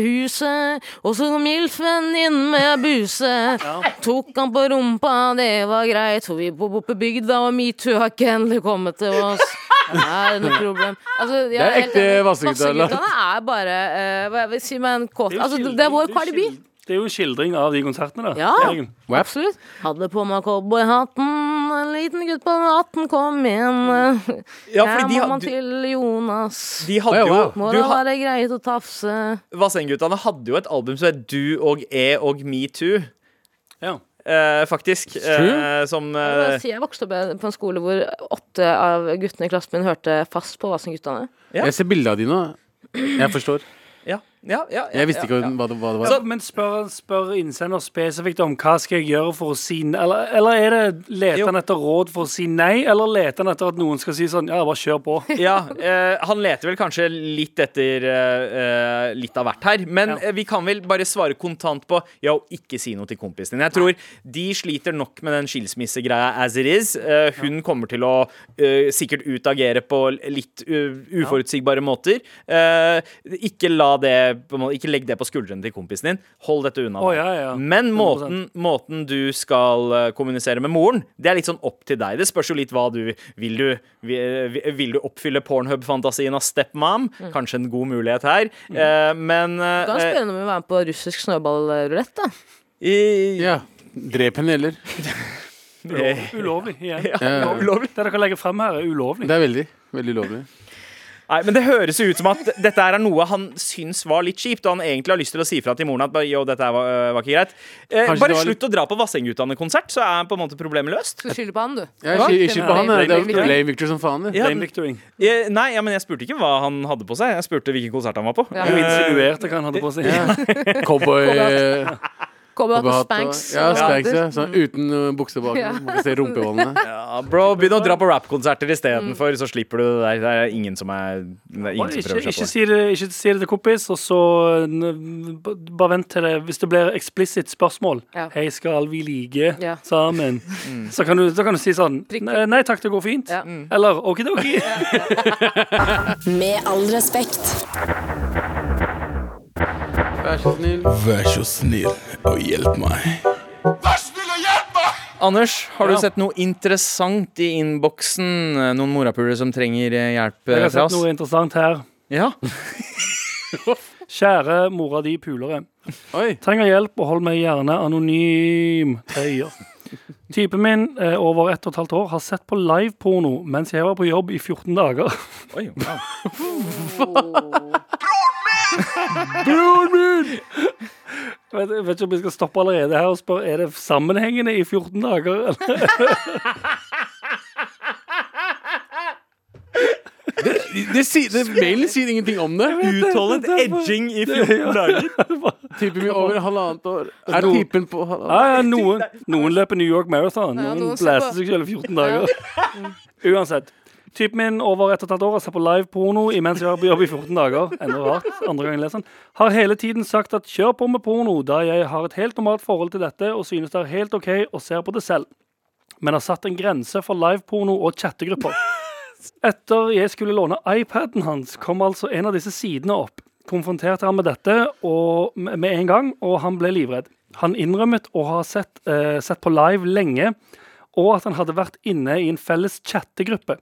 S4: gamlehuset, og så kom Milfen inn med buse. Tok han på rumpa, det var greit, for vi bor på bygda, og metoo har ikke endelig kommet til oss. Det er noe problem. Altså, jeg
S3: Det er
S4: helt
S3: ekte
S4: enig.
S3: Vassendgutane.
S4: Vassendgutane er bare eh, Hva jeg vil si med en kåt Altså, det er vår Cardi B.
S5: Det er jo en skildring av de konsertene, da.
S4: Ja.
S5: Jørgen.
S3: Wap.
S4: Absolutt. Hadde på meg cowboyhatten, en liten gutt på 18 kom igjen.
S2: Ja,
S4: Jeg er
S2: fordi de,
S4: mammaen
S2: had- du,
S4: til Jonas.
S2: de hadde
S3: Wow,
S2: jo
S3: wow.
S4: Må
S2: du
S4: da
S2: ha-
S4: være greit å tafse.
S2: Vassendgutane hadde jo et album som het Du og E og Me Too.
S5: Ja.
S2: eh, faktisk.
S3: True.
S2: eh, som
S4: Jeg vil
S2: eh,
S4: bare si, Jeg vokste opp på en skole hvor åtte av guttene i klassen min hørte fast på Vassendguttene.
S2: Ja.
S3: Jeg ser bilde av de nå. Jeg forstår.
S2: Ja, ja, ja, ja
S3: Jeg
S2: ja,
S3: visste ikke
S2: ja.
S3: hva det, hva det
S5: Ja,
S3: var.
S5: men spør, spør innsender spesifikt om hva skal jeg gjøre for å si nei? Eller, eller er det leter han etter råd for å si nei, eller leter han etter at noen skal si sånn ja, bare kjør på?
S4: *laughs*
S2: *laughs* Ja, eh, Han leter vel kanskje litt etter eh, eh, litt av hvert her. Men
S5: Ja.
S2: eh, vi kan vel bare svare kontant på ja, og ikke si noe til kompisen din. Jeg tror de sliter nok med den skilsmissegreia as it is. Eh, hun kommer til å eh, sikkert utagere på litt u- uforutsigbare måter. Eh, ikke la det på en måte- Ikke legg det på skuldrene til kompisen din. Hold dette unna.
S5: Å,
S2: deg.
S5: ja, ja.
S2: Men
S5: 100%.
S2: måten, måten du skal eh, kommunisere med moren, det er litt sånn opp til deg. Det spørs jo litt hva du Vil du, vil, vil du oppfylle pornhub-fantasien av stepmom? Kanskje en god mulighet her. Eh, men eh,
S4: Mm. Du kan spørre om vi vil være med på russisk snøballrulett. da.
S2: i,
S3: Ja. Drep henne, eller?
S5: Ulovlig. ulovlig igjen.
S3: Ja.
S2: Ulovlig.
S5: Det dere legger frem her, er ulovlig.
S3: Det er veldig veldig lovlig.
S2: Nei, men det høres jo ut som at dette her er noe han syns var litt kjipt, og han egentlig har lyst til å si fra til moren at bare, yo, dette her var, øh, var ikke greit. Eh,
S3: Kanskje
S2: bare
S3: det var litt-
S2: slutt å dra på Vassendgutane-konsert, så er på en måte problemet løst.
S4: Skal vi skylde på han, du?
S3: Jeg er ikke- ikke på han.
S5: Nei,
S3: Det er jo
S5: blame Victor.
S3: Blame Victor som faen. det.
S2: Ja,
S5: Blame
S2: men-
S5: Victoring.
S2: Eh, nei, ja, men jeg spurte ikke hva han hadde på seg, jeg spurte hvilken konsert han var på.
S4: Ja.
S5: Du insinuerte hva han hadde på seg.
S3: Cowboy eh,
S4: Cowboyhatt og
S3: cowboyhatt og-
S4: Spanks.
S3: Ja,
S4: og
S3: Spanks.
S4: bander.
S3: Ja. Sånn uten eh, bukse bak.
S4: Ja.
S3: Man kan se rumpehålene.
S2: Ja, bro, begynn å dra på rappkonserter istedenfor, så slipper du det der. Det er ingen som, er, det er ingen som
S5: Mm. Ikke,
S2: prøver
S5: ikke,
S2: seg på det.
S5: si det, ikke si det til kompis, og så n- b- bare vent til det Hvis det blir eksplisitt spørsmål
S4: Ja.
S5: Hei, skal vi ligge
S4: Ja.
S2: *laughs*
S5: sammen?
S2: Mm.
S5: Så, kan du, så kan du si sånn
S4: Prikk, prikk.
S5: Nei nei takk, det går fint.
S4: Ja.
S5: Eller okidoki.
S1: Med all respekt.
S3: Vær så snill.
S6: Vær så snill og hjelp meg.
S2: Anders, har du
S5: Ja.
S2: sett noe interessant i innboksen? Noen morapulere som trenger eh, hjelp
S5: *laughs* Jeg
S2: eh, fra
S5: har sett
S2: oss?
S5: noe interessant her.
S2: Ja.
S5: Kjære mora di pulere.
S3: Oi.
S5: Trenger hjelp og hold meg gjerne anonym.
S2: *laughs*
S5: Tøyer. Typen min eh, over ett og et halvt år har sett på liveporno mens jeg var på jobb i 14 dager.
S2: Oi, wow.
S5: Jeg vet, jeg vet ikke om vi skal stoppe allerede her og spørre Er det sammenhengende i 14 dager. *laughs* Eller?
S3: Det sier, det, mailen sier ingenting om det.
S2: Utholdet edging i 14 dager.
S3: Typen min over halvannet år. Er
S5: noe-
S3: typen på halvannet
S5: Ja, ja, noen, noen løper New York Marathon.
S4: Ja,
S5: Noen
S4: noen ser
S5: blæser
S4: på-
S5: seg selv i 14 dager.
S4: *laughs*
S5: Uansett. Typen min over ett og et halvt år har sett på live-porno imens jeg har vært på jobb i 14 dager. Enda rart, andre gang jeg leser den. Har hele tiden sagt at 'kjør på med porno', da jeg har et helt normalt forhold til dette og synes det er helt OK og ser på det selv. Men har satt en grense for live-porno og chattegrupper. Etter jeg skulle låne iPaden hans, kom altså en av disse sidene opp. Konfronterte han med dette og, med en gang, og han ble livredd. Han innrømmet å ha sett, eh, sett på live lenge, og at han hadde vært inne i en felles chattegruppe.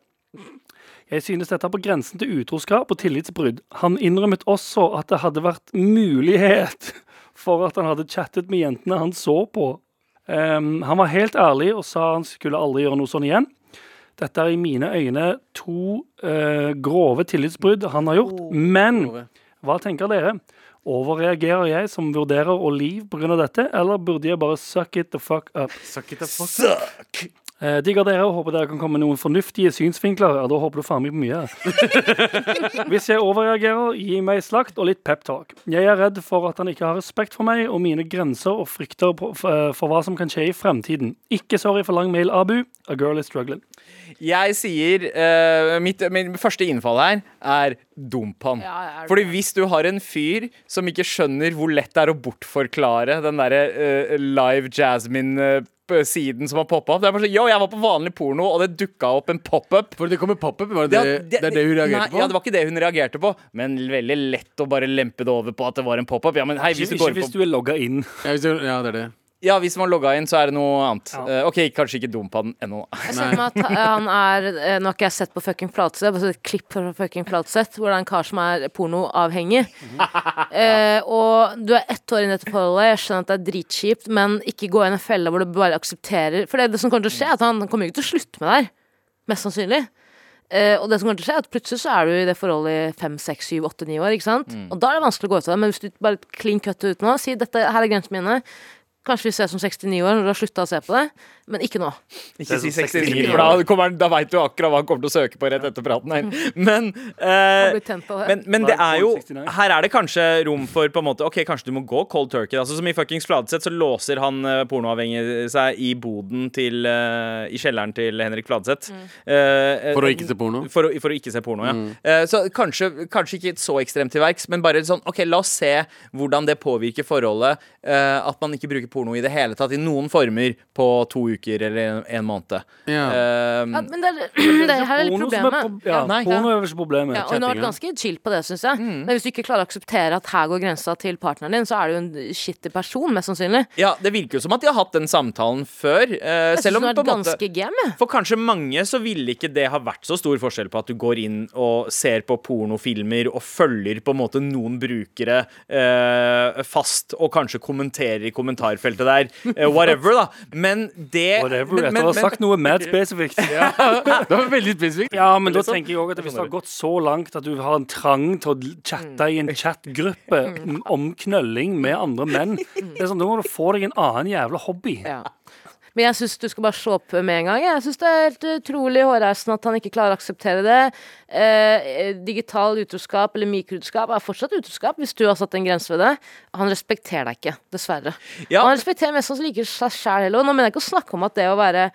S5: Jeg synes dette er på grensen til utroskap og tillitsbrudd. Han innrømmet også at det hadde vært mulighet for at han hadde chattet med jentene han så på. Em, han var helt ærlig og sa han skulle aldri gjøre noe sånn igjen. Dette er i mine øyne to eh, grove tillitsbrudd han har gjort. Men hva tenker dere? Overreagerer jeg som vurderer å liv pga. dette, eller burde jeg bare suck it the fuck up?
S3: Suck it up, fuck.
S2: Suck
S5: Eh, digger dere og håper dere kan komme med noen fornuftige synsvinkler. Ja, da håper du faen meg på mye. *laughs* Hvis jeg overreagerer, gi meg slakt og litt peptalk. Jeg er redd for at han ikke har respekt for meg og mine grenser og frykter på, f- eh, for hva som kan skje i fremtiden. Ikke sorry for lang mail, Abu. A girl is struggling.
S2: Jeg sier eh, mitt, Min første innfall her er dump han.
S4: Ja, jeg er
S2: Fordi hvis du har en fyr som ikke skjønner hvor lett det er å bortforklare den derre eh, live Jasmine-siden som har poppa opp Det er bare sånn Yo, jeg var på vanlig porno, og det dukka opp en pop-up.
S3: For det kommer pop-up, var det det, det, er det hun reagerte
S2: nei,
S3: på?
S2: Ja, det var ikke det hun reagerte på, men veldig lett å bare lempe det over på at det var en pop-up. Ja, men hei, hvis
S5: Ikke
S2: du går
S5: hvis
S2: på
S5: du er logga inn.
S3: Ja, hvis det- ja, det er det.
S2: Ja, hvis man logga inn, så er det noe annet.
S5: Ja.
S2: Eh, OK, kanskje ikke dump han ennå.
S4: Jeg ser for meg at han er eh, Nå har ikke jeg sett på fucking Flatseth, jeg har bare sett et klipp fra fucking Flatseth, hvor det er en kar som er pornoavhengig.
S2: Mhm.
S4: eh, og du er ett år inn i dette forholdet, jeg skjønner at det er dritkjipt, men ikke gå i en felle hvor du bare aksepterer For det, det som kommer til å skje, er at han kommer jo ikke til å slutte med det her. Mest sannsynlig. Eh, og det som kommer til å skje, er at plutselig så er du i det forholdet i fem, seks, syv, åtte, ni år, ikke sant?
S2: Mm.
S4: Og da er det vanskelig å gå ut av det, men hvis du bare klin cut ut nå, si dette her er grensene mine. Kanskje vi ses om 69 år når du har slutta å se på det, men ikke nå.
S2: Ikke si
S5: sånn
S2: 69,
S5: 69,
S2: for da, kommer han- da veit du akkurat hva han kommer til å søke på rett etter praten her. Men, eh,
S4: blir tent på det.
S2: men, men det
S5: Hva
S2: er
S5: er
S2: jo
S5: 69?
S2: Her er det kanskje rom for på en måte Ok, kanskje du må gå cold turkey. Altså, som i fuckings Fladseth så låser han eh, pornoavhengig seg i boden til eh, I kjelleren til Henrik Fladseth. Eh, eh,
S3: For å ikke se porno.
S2: For å, for å ikke se porno, ja. Eh, så kanskje, kanskje ikke så ekstremt til verks, men bare sånn OK, la oss se hvordan det påvirker forholdet eh, at man ikke bruker porno i det hele tatt, i noen former, på to uker eller en, en måned.
S3: Ja.
S2: Eh,
S4: Ja, men Mm. det *clears throat* er, det er her er litt
S5: Porno som er
S4: problemet.
S5: prob- ja,
S2: Nei.
S5: porno er vel ikke problemet.
S4: Ja, og hun har vært ganske chill på det, syns jeg. Men hvis du ikke klarer å akseptere at her går grensa til partneren din, så er du en skittig person, mest sannsynlig.
S2: Ja, Det virker jo som at de har hatt den samtalen før. eh,
S4: Jeg
S2: selv
S4: syns
S2: om
S4: hun
S2: på
S4: er
S2: en måte
S4: ganske game.
S2: For kanskje mange så ville ikke det ha vært så stor forskjell på at du går inn og ser på pornofilmer og følger på en måte noen brukere eh, fast, og kanskje kommenterer i kommentarfeltet der. eh, whatever, da. Men det
S5: Whatever,
S2: men,
S5: etter å ha sagt noe mad spesifikt.
S3: Det var veldig spesifikt.
S5: Ja, men da tenker jeg også at Hvis det Mm. har gått så langt at du har en trang til å chatte i en *laughs* chatgruppe om knølling med andre menn, det er sånn, da må du få deg en annen jævla hobby.
S4: Ja. Men jeg syns du skal bare slå opp med en gang. Jeg syns det er helt utrolig hårreisende at han ikke klarer å akseptere det. Eh, digital utroskap eller mikroutroskap er fortsatt utroskap hvis du har satt en grense ved det. Han respekterer deg ikke, dessverre.
S2: Ja.
S4: Og han respekterer mest sannsynlig ikke seg sjæl heller. Og nå mener jeg ikke å snakke om at det å være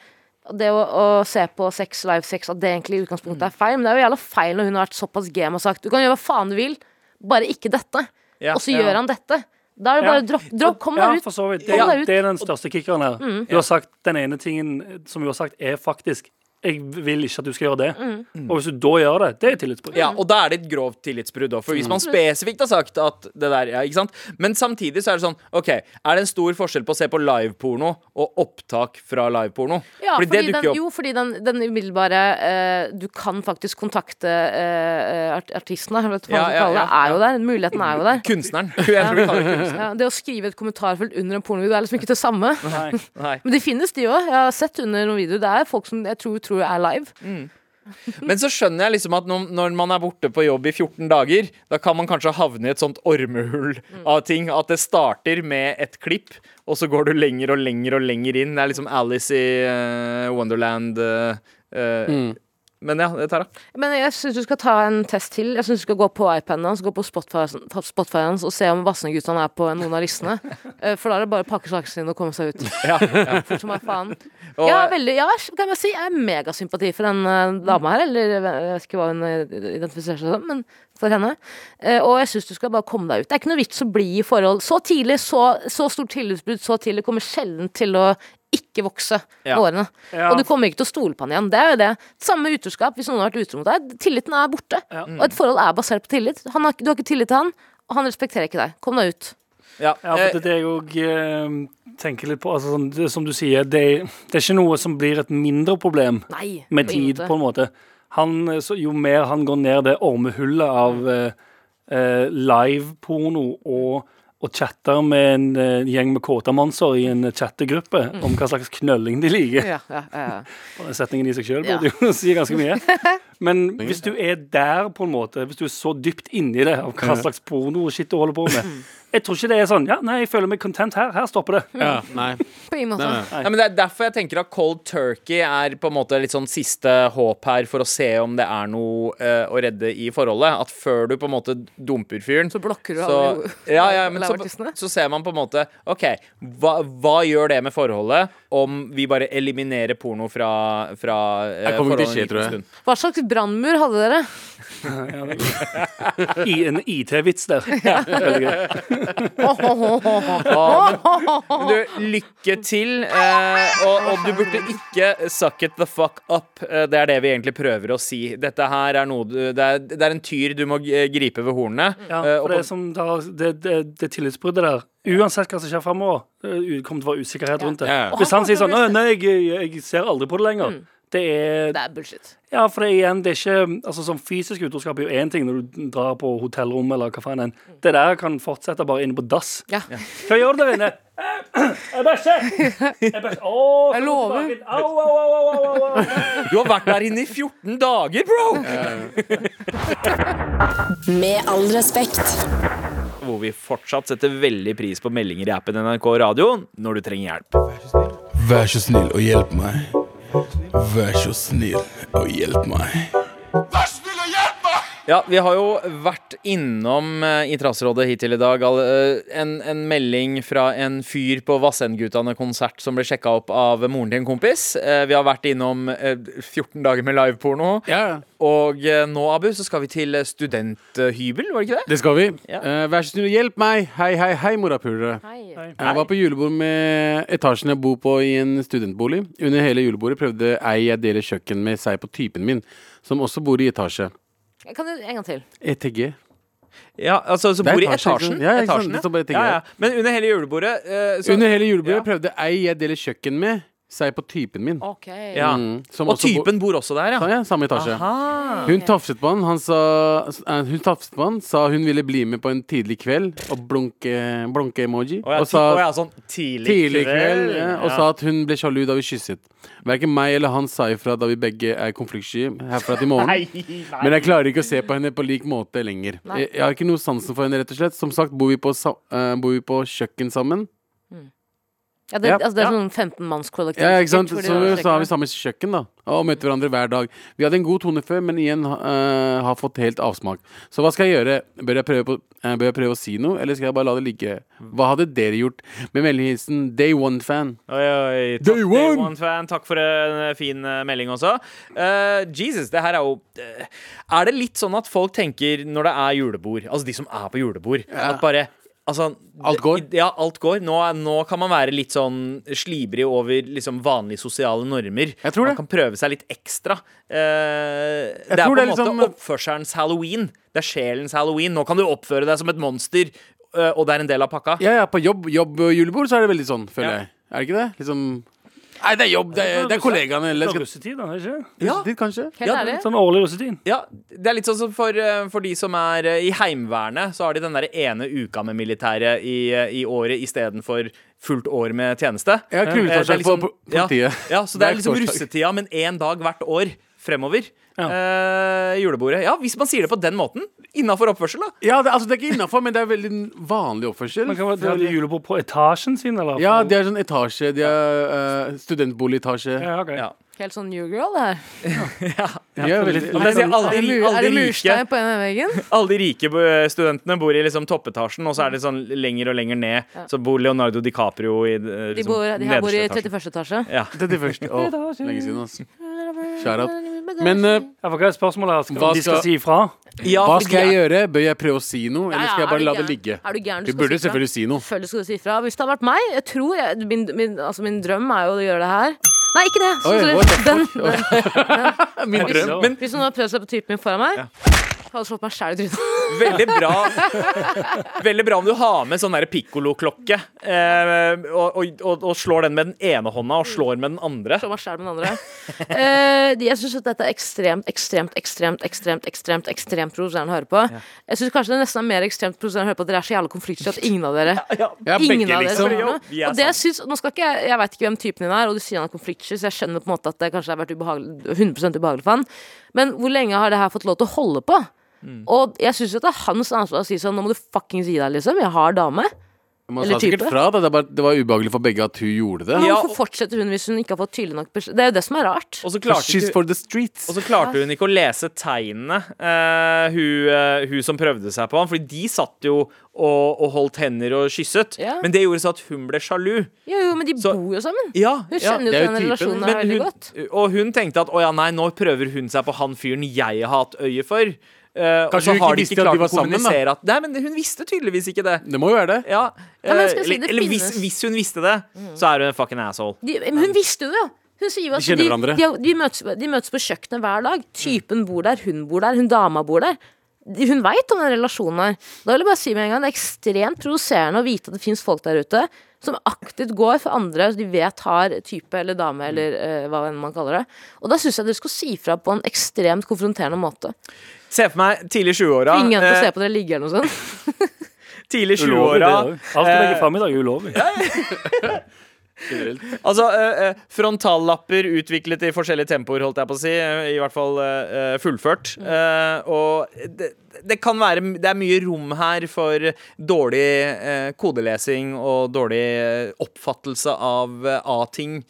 S4: det å, å se på sex, live sex, at det egentlig i utgangspunktet er feil. Men det er jo jævla feil når hun har vært såpass game og sagt du kan gjøre hva faen du vil, bare ikke dette.
S2: Ja,
S4: og så
S2: ja.
S4: gjør han dette. Da er det bare
S5: Ja.
S4: dropp, dropp, kom
S5: Ja,
S4: deg ut.
S5: for så vidt. Det,
S4: Kom deg ut. Mm.
S5: det er den største kickeren her. Du har sagt den ene tingen som du har sagt, er faktisk jeg vil ikke at du skal gjøre det.
S4: Mm.
S5: Og hvis du da gjør det, det er tillitsbrudd.
S2: Ja, og da er det et grovt tillitsbrudd òg, for hvis man
S4: Mm.
S2: spesifikt har sagt at det der ja, ikke sant? Men samtidig så er det sånn, OK, er det en stor forskjell på å se på liveporno og opptak fra liveporno?
S4: Ja, fordi,
S2: det dukker
S4: den,
S2: jo opp.
S4: jo, fordi den, den umiddelbare eh, Du kan faktisk kontakte eh, art artisten, da, eller hva
S2: Ja,
S4: man skal
S2: ja,
S4: kalle det,
S2: ja,
S4: er jo der. Muligheten er jo der.
S2: Kunstneren. *laughs* Jeg tror vi kaller det kunstneren.
S4: Ja, det å skrive et kommentarfelt under en pornovideo er liksom ikke det samme.
S5: Nei.
S2: Nei.
S4: Men de finnes, de òg. Jeg har sett under noen videoer. Det er folk som jeg tror, tror er live.
S2: Men så skjønner jeg liksom at når, når man er borte på jobb i 14 dager, da kan man kanskje havne i et sånt ormehull av ting. At det starter med et klipp, og så går du lenger og lenger og lenger inn. Det er liksom Alice i eh, Wonderland. eh, eh,
S5: Mm.
S2: Men ja, det tar av.
S4: Men jeg syns du skal ta en test til. Jeg syns du skal gå på iPaden hans, gå på Spotify Spotify hans og se om Vassendgutane er på noen
S2: *laughs*
S4: av listene. Eh, For da er det bare å pakke sakene sine og komme seg ut.
S2: Ja, ja.
S4: *laughs* Fort som bare faen.
S2: Og,
S4: Ja, veldig, ja, kan jeg si. Jeg er megasympati for den eh, dama her. Eller eh, jeg vet ikke hva hun eh, identifiserer seg som, men for henne. Eh, og jeg syns du skal bare komme deg ut. Det er ikke noe vits å bli i forhold så tidlig. Så, så stort tillitsbrudd så tidlig kommer sjelden til å ikke vokse
S2: Ja.
S4: hårene.
S5: Ja.
S4: Og du kommer ikke til å stole på han igjen. Det er jo det. Samme utroskap hvis noen har vært utro mot deg. Tilliten er borte. Og et forhold er basert på tillit. Han har, ikke- du har ikke tillit til han, og han respekterer ikke deg. Kom deg ut.
S2: ja,
S5: Ja,
S2: eh,
S5: for det er det jeg òg eh, tenker litt på. Altså, sånn, det, som du sier, det, det er ikke noe som blir et mindre problem
S4: Nei.
S5: med
S4: ingen
S5: tid,
S4: måte.
S5: på en måte. Han, eh, så, jo mer han går ned det ormehullet av eh, eh, live-porno og, og chatter med en eh, gjeng med kåte monser i en chattegruppe om hva slags knølling de liker.
S4: Mm. Ja, ja, ja, ja.
S5: Og den Setningen i seg sjøl
S4: Ja.
S5: burde jo *laughs* si ganske mye. Men hvis
S4: Mm.
S5: du er der, på en måte, hvis du er så dypt inni det av hva slags porno og shit du holder på med, Jeg tror ikke det er sånn Ja, nei, jeg føler meg content her. Her stopper
S4: *laughs*
S5: det.
S3: Ja, nei.
S4: *laughs* På ingen måte.
S3: nei, nei.
S2: Eh, Ja, men det er derfor jeg tenker at Cold Turkey er på en måte litt sånn siste håp her for å se om det er noe eh, å redde i forholdet. At før du på en måte dumper fyren
S4: Så blokker du
S2: så,
S4: alle
S2: ja,
S5: *laughs*
S2: ja, men så,
S4: lavartistene.
S2: så ser man på en måte OK, hva, hva gjør det med forholdet om vi bare eliminerer porno fra, fra eh,
S3: Jeg kommer til
S2: forholdet
S3: å skje,
S2: en liten
S3: tror jeg.
S2: stund?
S4: Hva slags brannmur hadde dere? *laughs*
S5: I en IT-vits der. Veldig gøy.
S2: Men du, lykke til. Eh, og, og du burde ikke suck it the fuck up. Eh, det er det vi egentlig prøver å si. Dette her er noe du, det, er, det er en tyr du må eh, gripe ved hornene.
S5: Ja,
S2: Eh, og
S5: for det,
S2: på-
S5: er som da, det, det, det tillitsbruddet der Uansett hva som skjer framover, kommer til å være usikkerhet rundt det.
S3: Ja.
S5: Hvis han sier sånn «Å, Nei, jeg, jeg ser aldri på det lenger. Det er
S4: Det er bullshit.
S5: Ja, for det er igjen, det er ikke altså sånn Fysisk utroskap er jo én ting når du drar på hotellrom eller hva faen enn. Det der kan fortsette bare inne på dass.
S4: Ja.
S5: Hva gjør du der inne? *clears throat* Jeg bæsjer! Jeg bæsjer. Å,
S4: Jeg lover.
S5: Au, au, au, au, au, au, au.
S2: Du har vært der inne i 14 dager, bro!
S1: Med all respekt.
S2: Hvor vi fortsatt setter veldig pris på meldinger i appen NRK Radio når du trenger hjelp.
S6: Vær så snill og hjelp meg. Vær så snill og hjelp meg.
S2: Ja, vi har jo vært innom eh, i Trassrådet hittil i dag all, eh, en, en melding fra en fyr på Vassendgutane-konsert som ble sjekka opp av moren til en kompis. Eh, Vi har vært innom eh, 14 dager med liveporno.
S3: Ja,
S2: Og eh, nå, Abu, så skal vi til eh, studenthybel, var det ikke det?
S3: det skal vi.
S2: Ja.
S3: Eh, vær så snill, hjelp meg. Hei, hei, hei, morapulere. Jeg var på julebord med etasjen jeg bor på i en studentbolig. Under hele julebordet prøvde ei jeg deler kjøkken med seg på typen min, som også bor i etasje. E
S4: Jeg Kan du en gang til?
S3: ETG.
S2: Ja, altså, så
S3: Det er
S2: bor i
S3: etasje, ikke
S2: etasjen.
S3: sant? Ja, ikke sant?
S2: etasjen,
S3: Det står bare ting
S2: ja,
S3: der.
S2: ja. Men under hele julebordet eh, så,
S3: Under hele julebordet
S2: ja.
S3: prøvde ei jeg deler kjøkken med, seg på typen min.
S4: Ok.
S2: ja.
S3: Mm, som
S2: Og
S3: også Sånn, bor-
S2: typen bor også der, ja.
S3: Sa jeg, samme etasje. Hun tafset på han, han sa, eh, hun tafset på han, sa hun ville bli med på en tidlig kveld og blunke, blunke emoji.
S2: Og jeg,
S3: og sa
S2: og jeg er sånn tidlig,
S3: tidlig kveld, ja, og sa at hun ble sjalu da vi kysset. Verken meg eller han sa ifra da vi begge er konfliktsky herfra til morgenen.
S2: *laughs*
S3: Men jeg klarer ikke å se på henne på lik måte lenger. Jeg, jeg har ikke noe sansen for henne, rett og slett. Som sagt bor vi på, sa, eh, bor vi på kjøkken sammen.
S4: Ja, det,
S3: Ja,
S4: altså, det er
S3: ja.
S4: sånn 15-mannskollektiv.
S3: Ja, ikke sant? Så,
S4: Hvor de
S3: så har vi
S4: sjekker.
S3: samme kjøkken da og møter hverandre hver dag. Vi hadde en god tone før, men igjen eh, har fått helt avsmak. Så hva skal jeg gjøre? Bør jeg, prøve på, eh, bør jeg prøve å si noe, eller skal jeg bare la det ligge? Hva hadde dere gjort? Med vennlig hilsen Day One-fan.
S2: Oi, oi, takk,
S3: Day
S2: Day
S3: one!
S2: One fan. Takk for en eh, fin eh, melding også. Eh, Jesus, det her er jo eh, Er det litt sånn at folk tenker når det er julebord, altså de som er på julebord, at bare Altså,
S3: Alt går?
S2: det- Ja, alt går. Nå, er- nå kan man være litt sånn slibrig over liksom vanlige sosiale normer.
S3: Jeg tror
S2: man
S3: det.
S2: kan prøve seg litt ekstra. Eh, det er
S3: tror
S2: på en
S3: det
S2: måte
S3: er liksom-
S2: oppførselens halloween. Det er sjelens halloween. Nå kan du oppføre deg som et monster, eh, og det er en del av pakka.
S3: Ja, ja, på jobb, jobb og julebord så er det veldig sånn, føler
S2: Ja.
S3: jeg. Er det ikke det? Liksom Nei, det er jobb, det er, det er kollegaene.
S5: Det
S3: Eller
S5: er
S3: skal
S5: russetid, da, er det ikke?
S3: ja. dit, kanskje?
S4: Helt
S2: Ja,
S4: ærlig.
S5: Sånn årlig russetid.
S2: Ja, det er litt sånn som for, eh, for de som er eh, i Heimevernet, så har de den der ene uka med militæret i, eh, i året istedenfor fullt år med tjeneste.
S3: Ja,
S2: Eh, det er
S3: krulletorsdag på liksom po- politiet.
S2: Ja, ja, så det
S3: Hver
S2: er liksom
S3: torsdag.
S2: russetida, men én dag hvert år fremover. Eh, julebordet. Ja, hvis man sier det på den måten. Innafor oppførsel, da.
S3: *laughs* Ja, det, altså, det er ikke innafor, men det er veldig vanlig oppførsel.
S5: Men kan man dra julebord på etasjen sin, eller?
S3: Ja, de er sånn etasje. De er eh, studentboligetasje.
S5: ja, ok.
S2: Ja.
S4: Helt sånn new girl, det her.
S3: De er veldig,
S2: Men jeg sier alle,
S4: Er det,
S2: de-
S4: mur, er
S2: alle,
S4: det
S2: de rike,
S4: murstein på en av veggen?
S2: alle de rike eh, studentene bor i liksom toppetasjen, og så er det sånn lenger og lenger ned. Så bor Leonardo DiCaprio i eh, liksom,
S4: De, bor, de her bor i
S2: nederste etasjen.
S4: 31. etasje.
S2: Ja.
S3: Det er det første. Åh, lenge siden, altså. Shout out. Men eh,
S5: Ja, for hva er spørsmålet her? Skal,
S3: Hva
S5: om de skal
S3: skal-
S5: si ifra?
S2: Ja, fordi
S3: hva
S2: de
S3: skal
S2: er-
S3: jeg gjøre? Bør jeg prøve å si noe, eller skal jeg
S4: er
S3: bare
S4: du
S3: la det
S4: gæren?
S3: ligge?
S4: Er du gæren?
S3: Du
S4: skal
S3: burde
S4: si fra.
S3: selvfølgelig si noe.
S4: Selvfølgelig skal du si ifra. Hvis det hadde vært meg jeg tror jeg, min, min, altså min drøm er jo å gjøre det her. Nei, ikke det!
S3: Oi,
S4: Sorry.
S3: what the fuck?
S4: Den,
S3: Oi. Min
S5: Hvis-
S3: drøm.
S5: Men
S4: hvis noen hadde prøvd seg på typen min foran meg, hadde slått meg sjæl i trynet.
S2: Veldig bra Veldig bra om du har med sånn der piccolo-klokke eh, og, og, og, og slår den med den ene hånda og slår med den andre.
S4: Slå meg selv med den andre. Eh, jeg syns at dette er ekstremt, ekstremt, ekstremt ekstremt, ekstremt, ekstremt provoserende å høre på. Jeg syns kanskje det nesten er mer ekstremt provoserende å høre på at dere er så jævla konfliktsky at ingen av dere
S3: Ja,
S4: Ingen av
S3: begge,
S4: dere
S3: liksom.
S4: svarer noe.
S2: Vi er
S4: Og det jeg syns, nå skal ikke jeg, jeg vet ikke hvem typen din er, og du sier han er konfliktsky, så jeg skjønner på en måte at det kanskje har vært ubehagelig, 100 ubehagelig for han. Men hvor lenge har det her fått lov til å holde på?
S2: Mm.
S4: Og jeg syns jo at det er hans ansvar å si sånn Nå må du fuckings gi deg, liksom. Jeg har dame.
S3: Man
S4: Eller
S3: sa sikkert
S4: type.
S3: fra, da. Det, er bare, det var ubehagelig for begge at hun gjorde det.
S4: Men
S2: Ja,
S4: hvorfor
S2: og-
S4: fortsetter hun hvis hun ikke har fått tydelig nok beskjed? Det er jo det som er rart.
S2: Og så klarte
S3: She's
S2: ikke
S3: for the streets.
S2: og så klarte hun ikke å lese tegnene, eh, hun, eh, hun som prøvde seg på ham. Fordi de satt jo og, og holdt hender og kysset.
S4: Ja.
S2: Men det gjorde så at hun ble sjalu.
S4: Jo, jo, men de
S2: Så-
S4: bor jo sammen.
S2: Ja,
S4: Hun
S2: ja.
S4: kjenner
S3: det
S4: jo til
S3: er jo
S4: den
S3: typen,
S4: relasjonen her
S2: Men
S4: veldig
S2: hun,
S4: godt.
S2: og hun tenkte at å ja, nei, nå prøver hun seg på han fyren jeg har hatt øye for. Eh, og
S3: Kanskje
S2: så
S3: hun ikke
S2: har de
S3: visste
S2: ikke
S3: at de
S2: klart
S3: var
S2: å
S3: sammen, da?
S2: kommunisere at Nei, men hun visste tydeligvis ikke det.
S3: Det må jo være det.
S2: Ja,
S4: Ja, men
S2: eh,
S4: skal jeg si, det
S2: eller eller hvis,
S4: finnes. Mm.
S2: hvis hun visste det, så er hun en fucking asshole.
S4: De, men hun visste jo det, jo. Hun sier jo at
S3: kjenner
S4: de,
S3: hverandre.
S4: de, de, møtes, de møtes på kjøkkenet hver dag. Typen bor der, hun bor der, hun dama bor der. De- Hun veit om den relasjonen her. Da vil jeg bare si med en gang Det er ekstremt provoserende å vite at det fins folk der ute som aktivt går for andre de vet har type eller dame eller eh, hva enn man kaller det. Og da syns jeg dere skulle si fra på en ekstremt konfronterende måte.
S2: Se for meg tidlig 20-åra.
S4: Ingen til å
S2: eh,
S4: se på dere sånn. ligge eller noe sånt.
S2: Tidlig
S5: Ulovlig,
S2: 20-åra.
S5: det er det. Alt du
S3: Eh,
S5: legger fram i dag, er ulovlig.
S2: Altså, eh, eh, frontallapper utviklet i forskjellige tempoer, holdt jeg på å si. eh, I hvert fall eh, eh, fullført.
S4: Mm.
S2: Eh, og det, det kan være Det er mye rom her for dårlig eh, kodelesing og dårlig eh, oppfattelse av eh, A-ting.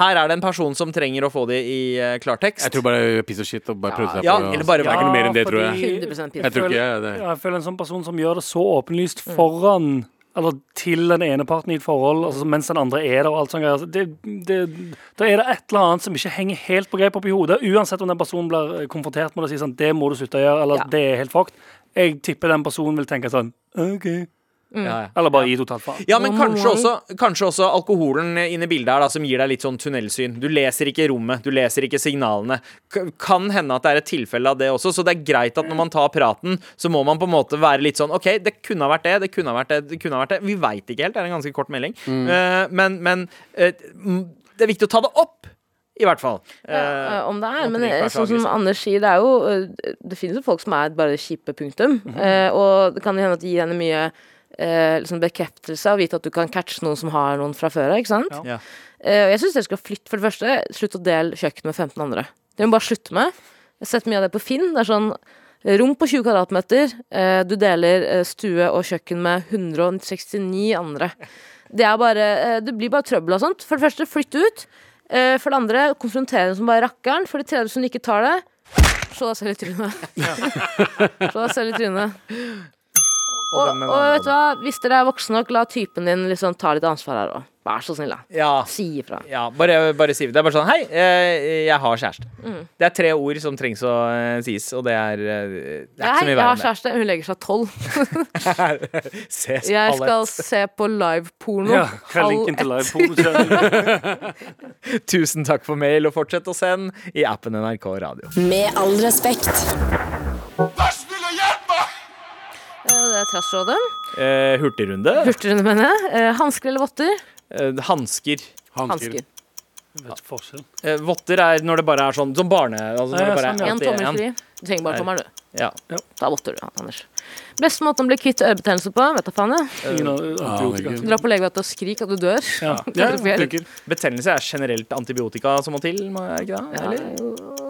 S2: Her er det en person som trenger å få det i eh, klartekst.
S3: Jeg tror bare hun er piece of shit og bare prøvde seg
S2: Ja,
S3: på
S2: eller bare
S3: Det er ikke noe mer enn det, tror jeg.
S5: fordi-
S4: 100% pinlig.
S3: Jeg tror ikke jeg det.
S5: Ja, jeg føler en sånn person som gjør det så åpenlyst foran eller til den ene parten i et forhold, altså mens den andre er der. og alt sånt. greier. Altså, Det, det, da er det et eller annet som ikke henger helt på greip oppi hodet. Uansett om den personen blir eh, konfrontert med det og sier sånn, det må du slutte å gjøre, eller
S4: Ja.
S5: det er helt fucked. Jeg tipper den personen vil tenke sånn OK.
S4: Mm.
S2: Ja, ja.
S5: Eller bare gi totalt faen.
S2: Ja, men
S4: Nå må
S2: kanskje
S4: jeg-
S2: også, kanskje også alkoholen eh, inne i bildet her, da, som gir deg litt sånn tunnelsyn. Du leser ikke rommet, du leser ikke signalene. K kan hende at det er et tilfelle av det også, så det er greit at når man tar praten, så må man på en måte være litt sånn OK, det kunne ha vært det, det kunne ha vært det, det kunne ha vært det. Vi veit ikke helt, det er en ganske kort melding.
S4: Mm.
S2: Eh, men men eh, m- det er viktig å ta det opp, i hvert fall. Eh,
S4: Eh, om det er,
S2: at
S4: men
S2: det ikke
S4: eh,
S2: er så
S4: sånn som
S2: aggressivt.
S4: Anders sier, det er jo eh, Det finnes jo folk som er bare kjipe, punktum.
S2: Mhm.
S4: Eh, og det kan jo hende at det gir henne mye eh, liksom bekreftelse av å vite at du kan catche noen som har noen fra før av, ikke sant?
S5: Ja.
S2: Ja.
S4: Eh, og jeg syns dere skal flytte, for det første. Slutt å dele kjøkken med 15 andre. Det må bare slutte med. Jeg har sett mye av det på Finn. Det er sånn Rom på 20 kvadratmeter. eh, Du deler eh, stue og kjøkken med 169 andre. Det, er bare, eh, det blir bare trøbbel og sånt. For det første, flytt ut. Eh, For det andre, konfrontere henne som bare rakkeren. For det tredje, hvis hun ikke tar det, slå deg selv i trynet. slå deg selv i trynet. Og,
S2: den med
S4: og
S2: den
S4: vet du hva, hvis dere er voksne nok, la typen din liksom ta litt ansvar her òg. Vær så snill, da.
S2: ja.
S4: Si ifra.
S2: Ja, bare, bare si det. Det er bare sånn Hei, eh, jeg har kjæreste.
S4: Mm.
S2: Det er tre ord som trengs å eh, sies, og det er, eh, det er ikke
S4: Hei,
S2: så mye
S4: jeg har
S2: verre enn det.
S4: kjæreste. Hun legger seg tolv.
S2: *laughs* Ses
S4: Jeg
S2: alle.
S4: skal se på liveporno.
S5: Ja, hva er linken til live porno?
S2: Tusen takk for mail, og fortsett å sende i appen NRK Radio.
S1: Med all respekt.
S4: Eh, Det er trassrådet.
S2: Eh, hurtigrunde.
S4: Hurtigrunde, mener jeg. Eh, Hansker eller votter?
S2: Eh, hansker.
S3: Hansker.
S4: Hansker.
S5: Vet forskjell.
S2: Eh, votter er når det bare er sånn som barne... Altså når
S5: Ja,
S2: det bare er
S5: sånn, ja.
S4: Én
S2: alltid
S4: tommel
S2: en.
S4: fri. Du trenger bare
S2: Nei.
S4: tommelen, du.
S2: Ja.
S4: Da votter du, Anders. Beste måten å bli kvitt ørebetennelse på? Vet da faen, jeg.
S5: Ingen antibiotika.
S3: herregud.
S4: Dra på legevakta og skrik at du dør.
S5: Ja.
S3: Ja,
S4: Kanskje flere.
S3: tenker.
S2: Betennelse er generelt antibiotika som må til, må- er det ikke det? Eller?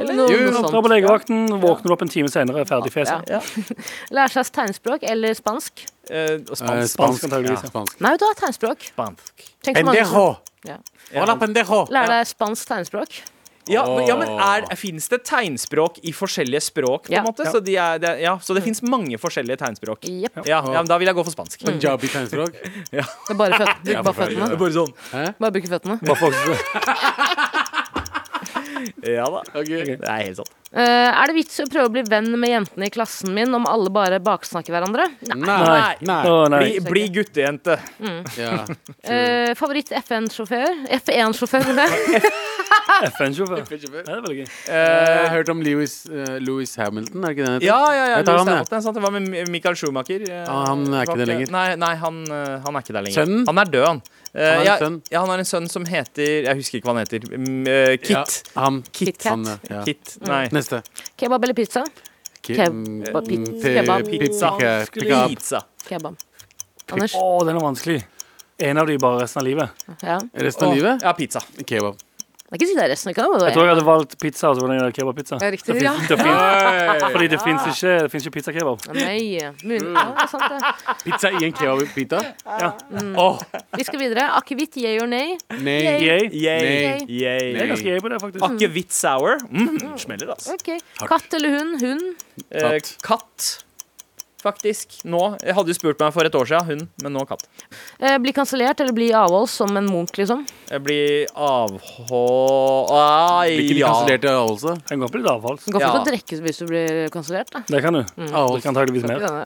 S4: Eller noe,
S3: Jo,
S4: noe
S5: Dra
S4: sånt.
S5: på legevakten, våkner du opp en time senere, ferdig fjes.
S4: Ja. *laughs* Lære seg tegnspråk eller spansk.
S2: Eh, og
S3: Eh,
S2: spansk.
S5: Spansk,
S3: Spansk,
S5: antageligvis, ja.
S3: spansk.
S4: Nei, du har tegnspråk.
S2: spansk.
S4: Tenk så mange
S3: Pendejo!
S4: som-
S3: Hola, pendejo!
S4: Lær deg spansk tegnspråk.
S2: Ja, men- ja, men er, finnes det tegnspråk i forskjellige språk, på en
S4: Ja.
S2: måte? Så, de er, det, er- ja, så det finnes mange forskjellige tegnspråk.
S4: Jepp.
S2: Ja, ja, men da vil jeg gå for spansk.
S3: Punjabi tegnspråk.
S4: Det
S2: *laughs*
S4: er bare føt- Bruk
S3: Ja,
S4: bare
S3: forferdelig.
S4: føttene.
S2: Bare sånn.
S4: Bare bruke føttene.
S5: Bare folk-
S2: *laughs* Ja da.
S3: Ok.
S2: Det er helt sant.
S4: Eh, er det vits å prøve å bli venn med jentene i klassen min om alle bare baksnakker hverandre? Nei.
S3: Nei. Nei.
S5: Å, nei.
S2: Bli, bli guttejente.
S3: Ja.
S4: Eh, favoritt FN-sjåfør? F1-sjåfør, E vil *laughs* jeg.
S5: FN-sjåfør. Ja, det er veldig gøy.
S3: Jeg har hørt om Lewis, eh, Lewis Hamilton, er det ikke det han
S2: Eh,
S3: heter?
S2: Ja, ja, ja.
S3: Jeg tar
S2: Lewis
S3: han, jeg.
S2: Hamilton, sant? Det var med Michael Schumacher. eh,
S3: Ah, han er ikke
S2: var
S3: det lenger.
S2: Nei, nei han, eh, han er ikke der lenger.
S3: Sønnen?
S2: Han er død, han. Eh,
S3: Han har en
S2: ja,
S3: sønn.
S2: Ja, han har en sønn som heter Jeg husker ikke hva han heter. Mm, eh, Kit.
S3: Ja, han.
S4: Kit
S3: Han,
S4: Kat.
S3: ja.
S2: Kit. Nei.
S3: Neste.
S4: Kebab eller pizza?
S3: Ki-
S4: Keb-
S3: mm,
S4: pa- pi-
S3: mm,
S4: kebab.
S3: pi- pi- pika- pika-
S2: Pizza.
S4: Kebab. Anders?
S5: Å, den er vanskelig. En av de bare resten av livet.
S4: Ja.
S3: Resten av
S2: Åh,
S3: livet?
S2: Ja, pizza.
S3: Kebab.
S4: Det er ikke sikkert det er resten av Canada.
S5: Jeg tror jeg hadde valgt pizza. og så var det en kebabpizza.
S4: Ja, riktig, ja.
S5: Det finnes- Fordi det fins ikke, det finnes ikke pizzakebab.
S4: Nei. Mun- Ja, det er sant det.
S3: Pizza i en kebabpita?
S4: Vi skal videre. Akevitt, yay Ah. or nay?
S3: Nei.
S2: Yay.
S5: Yay.
S4: Nei.
S5: Jeg er
S2: Yay.
S5: ganske yay på det, faktisk.
S2: Akevitt sour. Mm, smeller, altså.
S4: Ok. Katt eller hund? Hund.
S2: Eh,
S3: Katt.
S2: katt, faktisk. Nå. Jeg hadde jo spurt meg for et år siden, hund, men nå katt.
S4: Eh, bli kansellert eller bli avholds som en munk, liksom?
S2: Jeg blir avhå... Ai,
S3: Ikke de
S2: ja.
S3: kansellerte avholdelse?
S5: Jeg kan gå på litt avholds.
S4: Du går
S2: Ja.
S4: for å drikke hvis du blir kansellert, da.
S5: Det kan du.
S4: Mm.
S5: Det kan antakeligvis mer.
S4: Ja.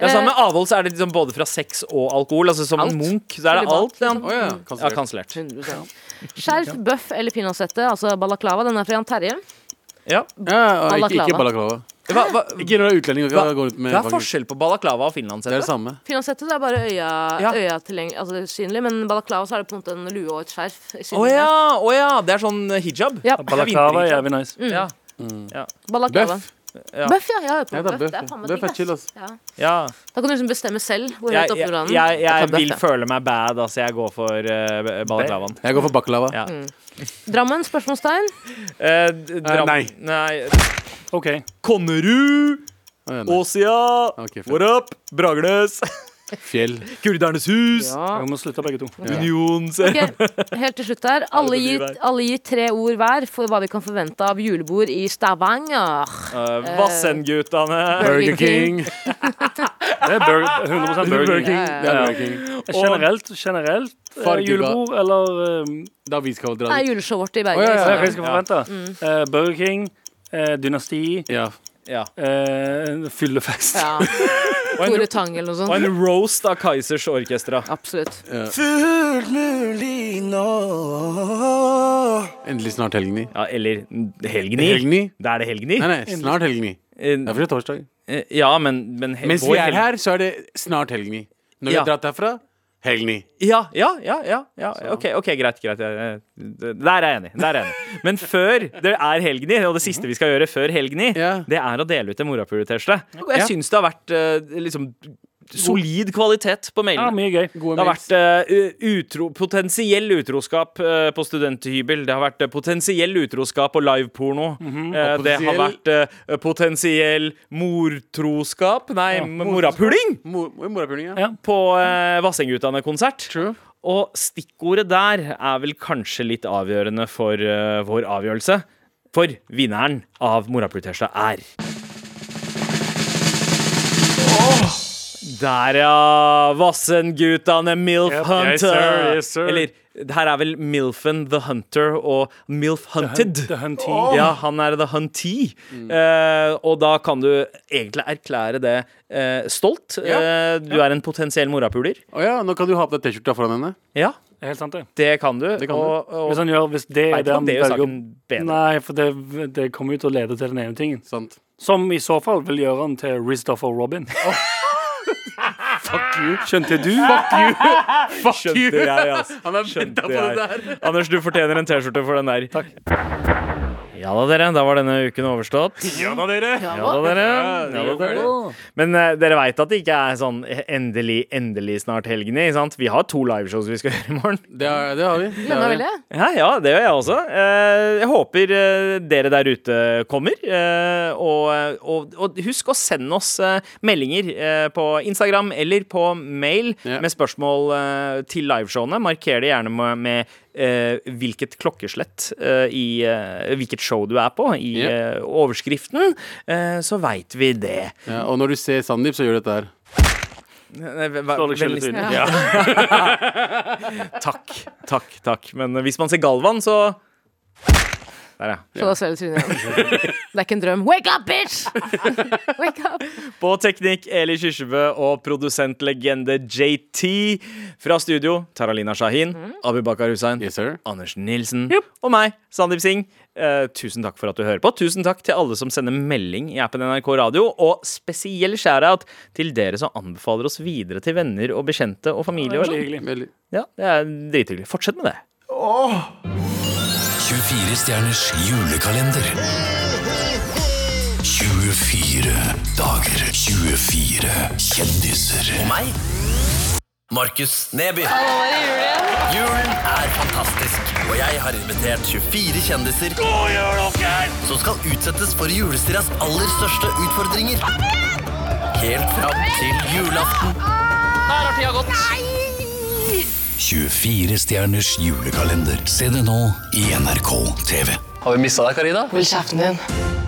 S2: Ja, sammen med avhold så er det liksom både fra sex og alkohol. Altså Som
S4: Alt.
S2: en munk så er det
S4: Celibat,
S2: alt. Ja,
S3: Å ja.
S2: ja
S3: Kansellert.
S2: kansellert.
S4: 100%. Skjerf, bøff eller pinnasette? Altså balaklava. Den er fra Jan Terje.
S2: Ja.
S3: Ja, og ikke, ikke balaklava.
S2: Hva, hva,
S3: Ikke når du er utlending.
S2: hva,
S3: og går ut med
S2: hva er
S3: faktisk.
S2: forskjell på balaklava og
S3: Det er det
S2: finlandshette?
S3: samme.
S4: Pinnasette det er bare øya,
S2: Ja.
S4: øya tilgjeng- altså, det er synlig, men balaklava så er det på en måte en lue og et skjerf.
S2: Å ja, å ja! Det er sånn hijab?
S4: Ja.
S5: Balaklava er jævlig nice.
S2: Ja.
S4: Balaklava.
S3: Bøff.
S2: Ja.
S4: Bøff, ja. Jeg har hørt på
S3: Ja, det er
S4: bøff. Det
S3: bøff,
S4: er faen
S3: ja.
S4: meg
S3: Bøff er
S4: digg, ass.
S3: chill, ass.
S4: Ja.
S2: ja.
S4: Da kan du liksom bestemme selv hvor høyt
S2: Jeg,
S4: opp i
S2: jeg,
S4: granen.
S2: jeg,
S4: Jeg
S2: jeg
S4: tar bøff,
S2: vil
S4: jeg.
S2: føle meg bad, altså. Jeg går for uh, balaklavaen.
S3: Jeg går for baklava.
S2: Ja.
S4: Mm. Drammen? Spørsmålstegn.
S2: Eh, d- dram-
S3: nei.
S2: nei.
S5: OK.
S2: Konnerud,
S3: Å, ja, nei.
S2: Åsia,
S3: Ok, fett.
S2: what up? Bragnes,
S3: Fjell.
S2: Kurdernes hus,
S4: Ah.
S5: Jeg må slutte begge to.
S2: Unions
S4: Ok, Helt til slutt her.
S2: Ja,
S4: Alle
S2: det
S4: gir,
S2: blir der.
S4: alle gir tre ord hver for hva vi kan forvente av julebord i Stavanger.
S2: Eh, Vassendgutane.
S3: Burger King.
S5: Det er burger, 100 Burger King.
S4: Ja, ja,
S3: Det er
S5: ja.
S3: *laughs* Burger King.
S5: Generelt, generelt eh,
S3: Fargeba.
S5: julebord eller eh,
S3: Da vi skal dra
S4: Det er
S3: dit.
S4: juleshowet vårt i
S3: Å,
S4: Bergen.
S3: ja,
S5: Hva er det
S4: liksom.
S5: jeg skal forvente? Eh, Burger King, eh, Dynasti,
S3: Ja.
S2: Ja.
S5: eh, fyllefest. *laughs*
S4: Ja.
S2: Og en
S4: Tore Tang eller noe
S2: Og
S4: sånt.
S2: en roast av Kaizers orkestra.
S4: Absolutt.
S6: Fullt mulig nå
S3: Endelig snart helgen i.
S2: Ja, eller helgen i.
S3: Helgen i?
S2: Da er det helgen i.
S3: Nei, nei, snart helgen i. Det er fordi det er torsdag.
S2: Eh, Ja, men, men he-
S3: Mens
S2: vår
S3: vi er
S2: helg-
S3: her, så er det snart helgen i. Når vi
S2: Ja.
S3: har dratt herfra, helgen i.
S2: Ja, ja, ja. ja, ja. OK, ok, greit. greit jeg- jeg- Der er jeg enig. der er jeg enig Men før det er helgen i, og det siste vi skal gjøre før helgen i,
S3: Ja.
S2: det er å dele ut en morapuletesle. Og
S3: Ja.
S2: jeg syns det har vært eh, liksom solid kvalitet på
S5: Ja,
S2: mailene.
S5: mye gøy.
S3: Gode
S2: Det har
S3: mails.
S2: vært eh, utro, potensiell utroskap eh, på studenthybel. Det har vært eh, potensiell utroskap og liveporno. Eh, det har
S3: potensiell-
S2: vært eh, potensiell mortroskap Nei, morapuling!
S3: Mor- Morapuling, ja.
S5: Ja.
S2: På eh, Vassengutane-konsert.
S3: True.
S2: Og stikkordet der er vel kanskje litt avgjørende for eh, vår avgjørelse. For vinneren av Morapulitesla er Der, ja! Vassendgutane Milf
S5: Yep.
S2: Hunter.
S5: Yes, sir. Yes, sir.
S2: Eller her er vel Milfen The Hunter og Milf Hunted.
S5: The Mm. Hunty.
S2: Ja, han er the huntee. Eh, og da kan du egentlig erklære det eh, stolt. Eh, du er en potensiell morapuler.
S3: Å ja, nå kan du ha på deg T-skjorta foran henne.
S2: Ja,
S5: Det er Helt sant, det.
S2: det kan du.
S3: kan du.
S2: og, og,
S5: Hvis han gjør, hvis det
S2: Nei,
S5: er
S2: det
S5: det
S2: kan
S5: han
S2: det jo
S5: velger
S2: saken *laughs* bedre.
S5: Nei, for det, det kommer jo til å lede til den ene tingen.
S3: Sant.
S5: Som i så fall vil gjøre han til Rizdoff og Robin.
S3: Fuck you. Skjønte du? Fuck *laughs* you.
S2: Skjønte jeg, *laughs* altså.
S3: Han er venta på det der.
S2: *laughs* Anders, du fortjener en T-skjorte for den der. Takk. Ja da, dere. Da var denne uken overstått. *laughs* Ja da, dere. Ja da, dere. Ja, da, dere. Men eh, dere veit at det ikke er sånn endelig, endelig snart helgen i, sant? Vi har to liveshows vi skal *laughs* gjøre i morgen.
S3: Det, er, det har vi. Det
S4: Gleder
S3: har
S4: meg
S3: vi.
S4: veldig.
S2: Ja, ja, det gjør jeg også. Eh, Jeg håper eh, dere der ute kommer. eh, Og, og, og husk å sende oss eh, meldinger eh, på Instagram eller på mail
S3: Ja.
S2: med spørsmål eh, til liveshowene. Marker det gjerne med, med eh, hvilket klokkeslett eh, i eh, hvilket show du er på, i
S3: Ja.
S2: eh, overskriften. eh, Så veit vi det.
S3: Ja, og når du ser Sandeep, så gjør du dette her.
S5: Slå deg selv i trynet.
S2: *laughs* Takk, takk, takk. Men eh, hvis man ser Galvan, så Der, ja.
S4: Så da ser du trynet igjen. Det er ikke en drøm. Wake up, bitch! Wake up.
S2: På teknikk Eli Kyrkjebø og produsentlegende JT. Fra studio Taralina Shahin,
S5: Mhm.
S2: Abu Bakar Hussein,
S3: Yes, sir.
S2: Anders Nilsen og meg, Sandeep Singh. Eh, tusen takk for at du hører på. Tusen takk til alle som sender melding i appen NRK Radio. Og spesiell share-out til dere som anbefaler oss videre til venner og bekjente og familie. Og
S5: Veldig
S2: sånn.
S5: hyggelig.
S3: Veldig.
S2: ja, det er drithyggelig. Fortsett med det.
S6: 24 stjerners julekalender 24 dager 24 kjendiser Og meg Markus Neby.
S7: Nå var det jul igjen.
S6: Julen er fantastisk, og jeg har invitert 24 kjendiser som skal utsettes for julestiras aller største utfordringer. Helt fram til julaften.
S7: Der har tida gått.
S8: 24 stjerners julekalender. Se det nå i NRK TV.
S6: Har vi mista deg, Karina?
S7: Hold kjeften din.